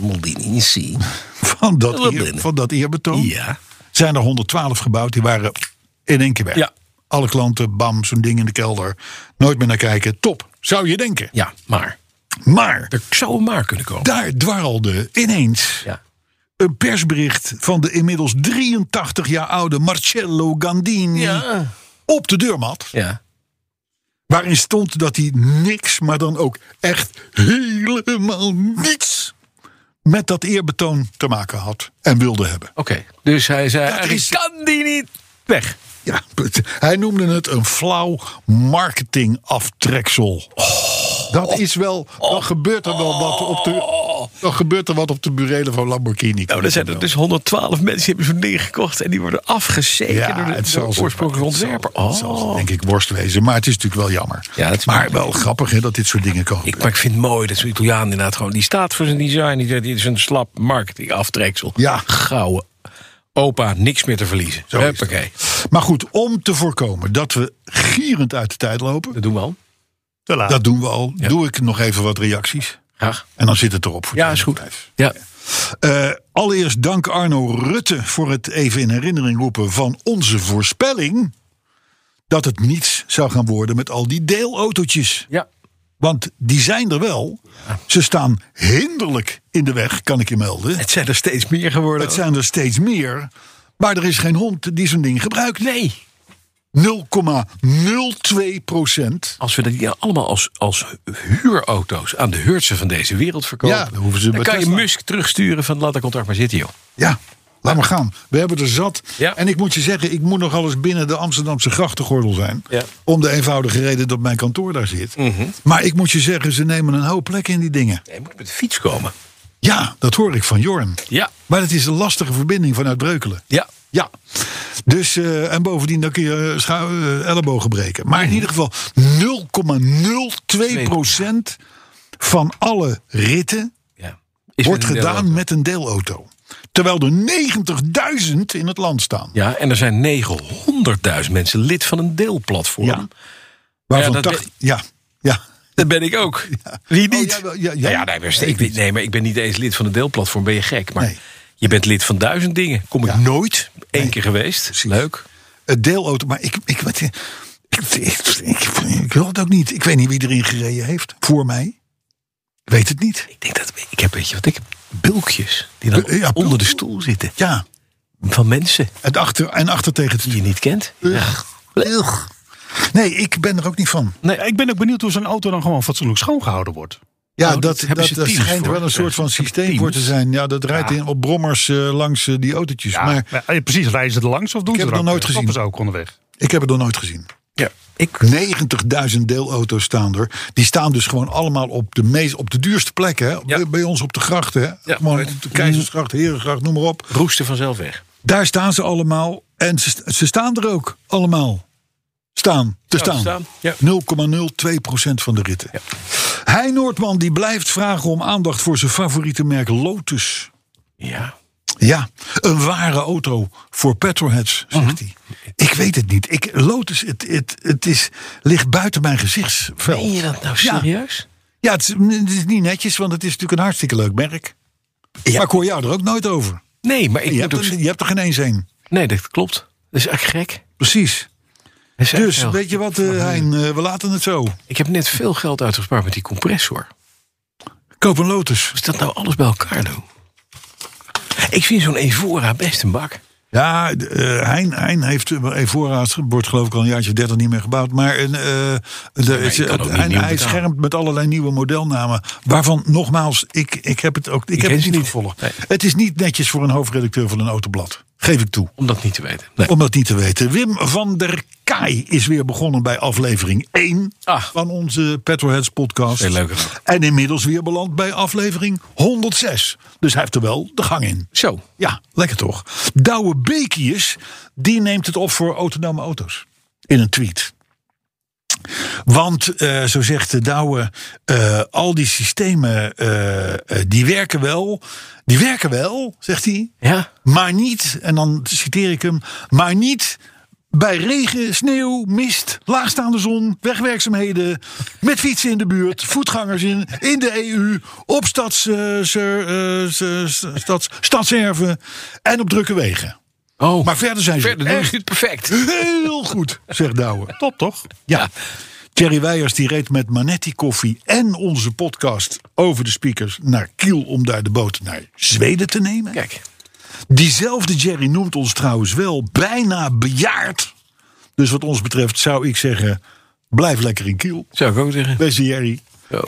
C: Mondini, zie.
B: van dat,
C: Wat
B: eer,
C: ben ik?
B: van dat eerbetoon
C: Ja.
B: zijn er 112 gebouwd. Die waren in één keer weg.
C: Ja.
B: Alle klanten, bam, zo'n ding in de kelder. Nooit meer naar kijken. Top, zou je denken.
C: Ja, maar.
B: Maar
C: Er zou een maar kunnen komen.
B: daar dwarrelde ineens
C: Ja.
B: een persbericht van de inmiddels 83 jaar oude Marcello Gandini
C: Ja.
B: op de deurmat.
C: Ja.
B: Waarin stond dat hij niks, maar dan ook echt helemaal niets met dat eerbetoon te maken had en wilde hebben.
C: Oké. Dus hij zei, eigenlijk
B: is-
C: kan die niet weg.
B: Ja, het- hij noemde het een flauw marketingaftreksel.
C: Oh.
B: Dat is wel, dan gebeurt er wel wat op de, dan gebeurt er wat op de burelen van Lamborghini.
C: Nou, Oh. dan zijn er dus 112 mensen die hebben zo'n ding gekocht. En die worden afgezeken door de, door de
B: zo-
C: oorspronkelijke
B: het zal-
C: ontwerper.
B: het zal
C: Oh.
B: denk ik worst wezen, maar het is natuurlijk wel jammer.
C: Ja, dat is-
B: maar wel grappig hè, dat dit soort dingen komen.
C: Ik, maar ik vind het mooi dat zo'n Italiaan inderdaad gewoon... die staat voor zijn design, die, die is een slap marketingaftreksel.
B: Ja.
C: Gouden. Opa, niks meer te verliezen.
B: Zo is het.
C: Huppakee.
B: Maar goed, om te voorkomen dat we gierend uit de tijd lopen,
C: Dat doen we al.
D: Te laat.
B: dat doen we al. Doe ik nog even wat reacties.
C: Graag.
B: En dan zit het erop. Voor
C: Ja, is goed.
B: 2005.
C: Ja.
B: Eh, allereerst dank Arno Rutte voor het even in herinnering roepen van onze voorspelling. Dat het niets zou gaan worden met al die deelautootjes.
C: Ja.
B: Want die zijn er wel. Ze staan hinderlijk in de weg, kan ik je melden.
C: Het zijn er steeds meer geworden.
B: Het zijn er steeds meer. Maar er is geen hond die zo'n ding gebruikt.
C: Nee.
B: 0,02 procent.
C: Als we dat hier allemaal als, als huurauto's aan de heurtsen van deze wereld verkopen...
B: Ja, dan hoeven ze bij
C: kan je
B: Tesla.
C: Musk terugsturen van laat dat contract maar zitten, joh.
B: Ja, laat maar gaan. We hebben er zat.
C: Ja.
B: En ik moet je zeggen, ik moet nogal eens binnen de Amsterdamse grachtengordel zijn.
C: Ja. Mhm.
B: Om de eenvoudige reden dat mijn kantoor daar zit. Maar ik moet je zeggen, ze nemen een hoop plek in die dingen.
C: Nee, je moet met de fiets komen.
B: Ja, dat hoor ik van Jorn.
C: Ja.
B: Maar het is een lastige verbinding vanuit Breukelen.
C: Ja.
B: Ja, dus eh, en bovendien dan kun je eh, schou- eh, ellebogen breken. Maar
C: Mhm.
B: in ieder geval 0,02 procent van alle ritten
C: ja. Is
B: wordt
C: met een
B: gedaan
C: deelauto.
B: met een deelauto. Terwijl er 90.000 in het land staan.
C: Ja, en er zijn 900.000 mensen lid van een deelplatform.
B: Ja. Waarvan
C: Ja, dat
B: 80 ja, ja.
C: Dat ben ik ook. Wie niet?
B: jij wel- ja, jij
C: Nou ja,
B: niet?
C: nee, maar,
B: Nee,
C: ik,
B: ik niet.
C: nee, maar ik ben niet eens lid van het deelplatform. Ben je gek? Maar
B: Nee.
C: je bent lid van duizend dingen. Kom ik
B: Ja.
C: nooit één keer geweest. Leuk.
B: Het deelauto, maar ik, ik, weet- ik, ik, ik, ik wil het ook niet. Ik weet niet wie erin gereden heeft. Voor mij. Ik weet het niet.
C: Ik denk dat ik heb, weet je wat ik heb? Bulkjes die dan
B: Bu- ja,
C: onder de
B: bulk-
C: stoel zitten.
B: Ja,
C: Van mensen
B: het achter, en achter tegen het
C: die je niet kent.
B: Ugh. Ugh. Nee, ik ben er ook niet van.
D: Ik ben ook benieuwd hoe zo'n auto dan gewoon fatsoenlijk schoongehouden wordt.
B: Ja,
C: Nou, dat
B: dat,
C: hebben
B: dat,
C: ze
B: dat
C: teams
B: schijnt
C: voor.
B: wel een soort van systeem voor te zijn. Ja, dat rijdt in op brommers eh, langs eh, die autootjes. Maar
D: Maar, ja, precies, rijden ze er langs of doen
B: Ik
D: ze
B: heb
D: er
B: het nog nooit
D: ook- stappen
B: gezien.
D: ze ook onderweg?
B: ik heb het nog nooit gezien.
C: Ja. Ik,
B: 90.000 deelauto's staan er. Die staan dus gewoon allemaal op de, meest, op de duurste plekken. hè.
C: Ja.
B: Bij, bij ons op de grachten. hè.
C: Ja,
B: gewoon
C: weet.
B: op de
C: Mm.
B: Keizersgracht, Herengracht, noem maar op.
C: roesten vanzelf weg.
B: Daar staan ze allemaal. En ze, st- ze staan er ook allemaal. Staan, te
C: Ja, te
B: staan.
C: staan, ja.
B: 0,02 van de ritten. Hij Noordman die blijft vragen om aandacht voor zijn favoriete merk Lotus.
C: Ja.
B: Ja, een ware auto voor petrolheads, zegt
C: Mhm.
B: hij. Ik weet het niet. Ik, Lotus, het, het, het is, ligt buiten mijn gezichtsveld.
C: Ben je dat nou
B: Ja.
C: serieus?
B: Ja, het is, het is niet netjes, want het is natuurlijk een hartstikke leuk merk. Maar ik hoor jou er ook nooit over.
C: Nee, maar ik
B: Je
C: moet
B: hebt,
C: ook...
B: er, je hebt er geen eens een.
C: Nee, dat klopt. Dat is echt gek.
B: Precies.
C: Dat is echt
B: Dus,
C: wel-
B: weet je wat, eh, Hein? eh, we laten het zo.
C: Ik heb net veel geld uitgespaard met die compressor.
B: Koop een Lotus.
C: Als ik dat nou alles bij elkaar doe. Ik vind zo'n Evora best een bak.
B: Ja, d- eh, Hein, Hein heeft eh, Evora, het wordt geloof ik al een jaartje of dertig niet meer gebouwd. Maar een, eh, er is,
C: je kan
B: eh,
C: ook niet
B: hij,
C: nieuw
B: hij
C: betalen.
B: schermt met allerlei nieuwe modelnamen. Waarvan, nogmaals, ik, ik heb het ook ik heb
C: ken
B: het
C: ze
B: niet
C: niet.
B: gevolgd.
C: Nee.
B: Het is niet netjes voor een hoofdredacteur van een autoblad. Geef ik toe.
C: Om dat niet te weten. Nee.
B: Om dat niet te weten. Wim van der Kaai is weer begonnen bij aflevering 1
C: Ah.
B: van onze Petroheads podcast.
C: Veel leuker ook.
B: En inmiddels weer beland bij aflevering 106. Dus hij heeft er wel de gang in.
C: Zo.
B: Ja, lekker toch. Douwe Bekius, die neemt het op voor autonome auto's. In een tweet. Want, eh, zo zegt de Douwe, eh, al die systemen, eh, eh, die werken wel. Die werken wel, zegt hij.
C: Ja.
B: Maar niet, en dan citeer ik hem, maar niet bij regen, sneeuw, mist, laagstaande zon, wegwerkzaamheden, met fietsen in de buurt, voetgangers in, in de EU, op stads, eh, ser- eh, se- se- stads, stadserven en op drukke wegen.
C: Oh,
B: Maar verder zijn ze
C: verder doen
B: echt
C: ze het perfect.
B: heel goed, zegt Douwe.
D: Top toch?
B: Ja. Thierry Weijers die reed met Manetti Koffie en onze podcast over de speakers naar Kiel om daar de boot naar Zweden te nemen.
C: Kijk.
B: Diezelfde Jerry noemt ons trouwens wel bijna bejaard. Dus wat ons betreft zou ik zeggen, blijf lekker in kiel.
C: Zou ik ook zeggen.
B: Beste Jerry.
C: Zo.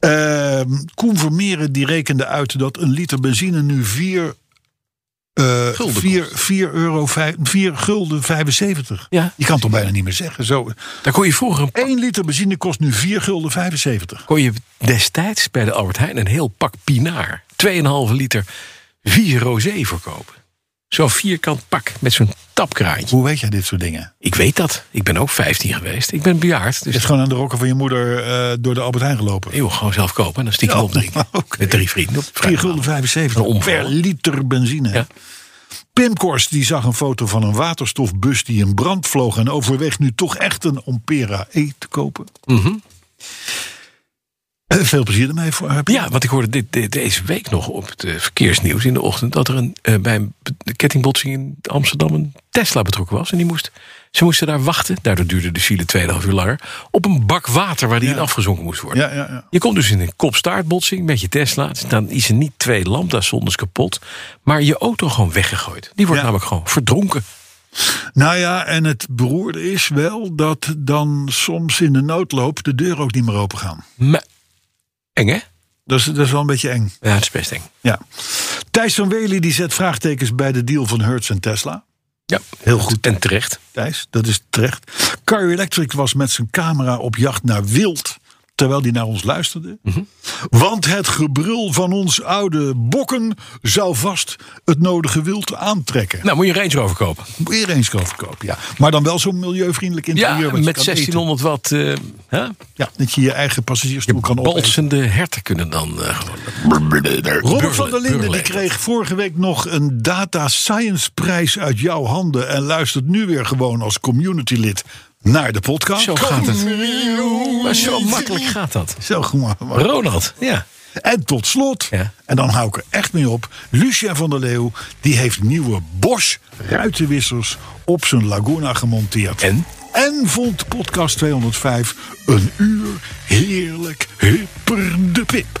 B: Ehm Koen Vermeeren die rekende uit dat een liter benzine nu 4
C: Gulden
B: vier vier euro vijf- vier gulden 75.
C: Ja.
B: Je kan het toch bijna niet meer zeggen. Zo,
C: Daar kon je vroeger een
B: 1 liter benzine kost nu 4 gulden 75.
C: kon je destijds bij de Albert Heijn een heel pak pinaar. 2,5 liter vier rosé verkopen. Zo'n vierkant pak met zo'n tapkraantje.
B: Hoe weet jij dit soort dingen?
C: Ik weet dat. Ik ben ook 15 geweest. Ik ben bejaard.
B: Je
C: Dus
B: is gewoon aan de rokken van je moeder eh, door de Albert Heijn gelopen.
C: eeuw, gewoon zelf kopen en dan stiekem
B: Ja,
C: *laughs* opdrinken.
B: oké.
C: Met drie vrienden. Op
B: 4
C: vrijdagavond.
B: gulden
C: Een
B: 75
C: omval.
B: per liter benzine.
C: Ja.
B: Pim Korst die zag een foto van een waterstofbus die in brand vloog... en overweegt nu toch echt een Ompera E te kopen.
C: Mhm.
B: Eh, Veel plezier ermee voor heb je?
C: Ja, want ik hoorde dit, dit- deze week nog op het eh, verkeersnieuws in de ochtend... dat er een, eh, bij een be- de kettingbotsing in Amsterdam een Tesla betrokken was. En die moest, ze moesten daar wachten, daardoor duurde de file 2,5 uur langer... op een bak water waar die in afgezonken moest worden.
B: ja, ja, ja.
C: Je komt dus in een kopstaartbotsing met je Tesla. Dan is er niet twee lambda-zondes kapot, maar je auto gewoon weggegooid. Die wordt
B: Ja.
C: namelijk gewoon verdronken.
B: Nou ja, en het beroerde is wel dat dan soms in de noodloop... de deuren ook niet meer open gaan.
C: Me- eng, hè?
B: Dat is, dat is wel een beetje eng.
C: Ja, het is best eng.
B: Ja. Thijs van Wely die zet vraagtekens bij de deal van Hertz en Tesla.
C: Ja,
B: Heel goed.
C: En terecht.
B: Thijs, dat is terecht. Car Electric was met zijn camera op jacht naar wild. Terwijl die naar ons luisterde.
C: Mhm.
B: Want het gebrul van ons oude bokken zou vast het nodige wild
C: *laughs*
B: aantrekken.
C: Nou, moet je een Range Rover kopen.
B: Weer eens kan verkopen, ja. Maar dan wel zo'n milieuvriendelijk
C: Ja,
B: interieur. wat je
C: met
B: kan eten.
C: 1600 watt eh, hè?
B: Ja, dat je je eigen passagiersstoel kan opeten.
C: balsende herten kunnen dan eh, gewoon...
B: Robert
C: Burle-
B: van der Linden die
C: Burle-
B: kreeg vorige week nog een Data Science prijs uit jouw handen. En luistert nu weer gewoon als community lid naar de podcast.
C: Zo gaat het. Maar zo makkelijk gaat dat.
B: Zo gemakkelijk.
C: Ronald, ja.
B: En tot slot,
C: Ja.
B: en dan hou ik er echt mee op. Lucien van der Leeuw die heeft nieuwe Bosch ruitenwissers op zijn Laguna gemonteerd.
C: En?
B: En vond podcast 205 een uur heerlijk hipper de pip.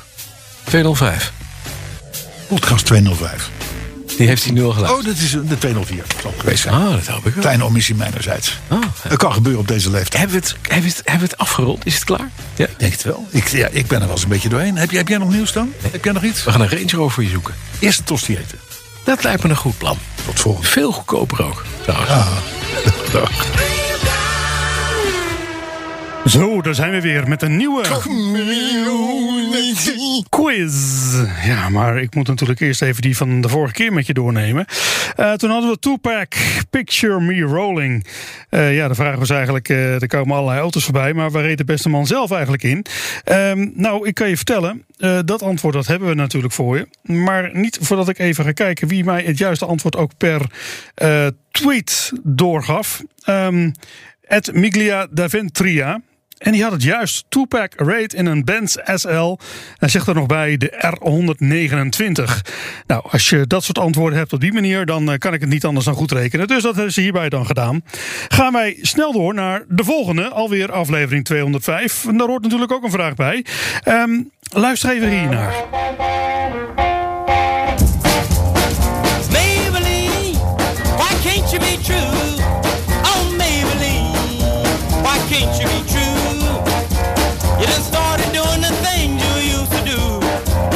C: 205.
B: Podcast 205.
C: Die heeft hij nu al gedaan.
B: Oh, dat is een- de 204. Zal geweest zijn.
C: Ah, dat hoop ik wel.
B: Kleine omissie mijnerzijds.
C: Ah, ja.
B: Dat kan gebeuren op deze leeftijd.
C: Hebben we, het, hebben, we het, hebben we het afgerond? Is het klaar? Ja.
B: Ik denk het wel. Ik, ja, ik ben er wel eens een beetje doorheen. Heb, jij- heb jij nog nieuws dan? Heb jij nog iets?
C: We gaan een Range Rover voor je zoeken.
B: Eerst een tosti eten.
C: Dat lijkt me een goed plan.
B: Tot volgende.
C: Veel goedkoper ook. Trouwens.
B: Dag.
D: Zo, daar zijn we weer met een nieuwe quiz. Ja, maar ik moet natuurlijk eerst even die van de vorige keer met je doornemen. Eh, toen hadden we Tupac, Picture Me Rolling. Eh, ja, de vraag was eigenlijk, eh, er komen allerlei auto's voorbij, maar waar reed de beste man zelf eigenlijk in? Ehm, nou, ik kan je vertellen, eh, dat antwoord dat hebben we natuurlijk voor je. Maar niet voordat ik even ga kijken wie mij het juiste antwoord ook per eh, tweet doorgaf. Het Miglia Daventria. En die had het juist. Tupac Raid in een Benz SL. En zegt er nog bij de R129. Nou, als je dat soort antwoorden hebt op die manier... dan eh, kan ik het niet anders dan goed rekenen. Dus dat hebben ze hierbij dan gedaan. Gaan wij snel door naar de volgende. Alweer aflevering 205. En daar hoort natuurlijk ook een vraag bij. Ehm, luister even hiernaar.
F: Maybelline, why can't you be true? Oh, Maybelline, why can't you be true? You done started doing the things you used to do.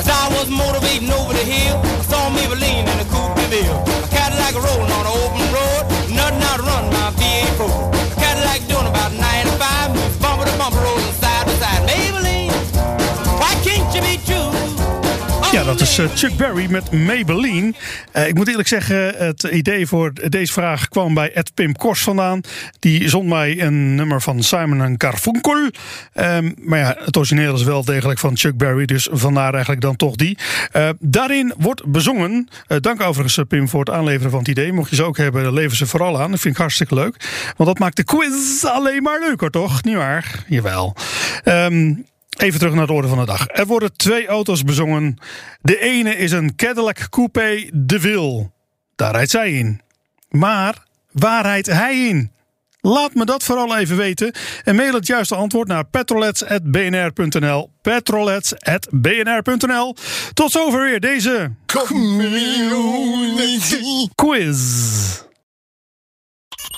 F: As I was motivating over the hill, I saw Maybelline in a coupe de ville. A Cadillac rolling on an open road, nothing outrun my V8 Pro. A Cadillac doing about 95, moves bumper to bumper, rolling side to side. Maybelline, why can't you be true? Oh,
D: Ja, dat is eh,
F: Maybelline.
D: Chuck Berry met Maybelline. Eh, ik moet eerlijk zeggen, het idee voor deze vraag kwam bij Ed Pim Kors vandaan. Die zond mij een nummer van Simon en Garfunkel. Ehm, maar ja, het origineel is wel degelijk van Chuck Berry, dus vandaar eigenlijk dan toch die. Eh, daarin wordt bezongen. eh, dank overigens eh, Pim voor het aanleveren van het idee. Mocht je ze ook hebben, lever ze vooral aan. Dat vind ik hartstikke leuk. Want dat maakt de quiz alleen maar leuker, toch? Niet waar? Jawel. Ehm Even terug naar de orde van de dag. Er worden twee auto's bezongen. De ene is een Cadillac Coupé De Vil. Daar rijdt zij in. Maar waar rijdt hij in? Laat me dat vooral even weten. En mail het juiste antwoord naar petrolets.bnr.nl. Petrolets.bnr.nl. Tot zover weer deze quiz.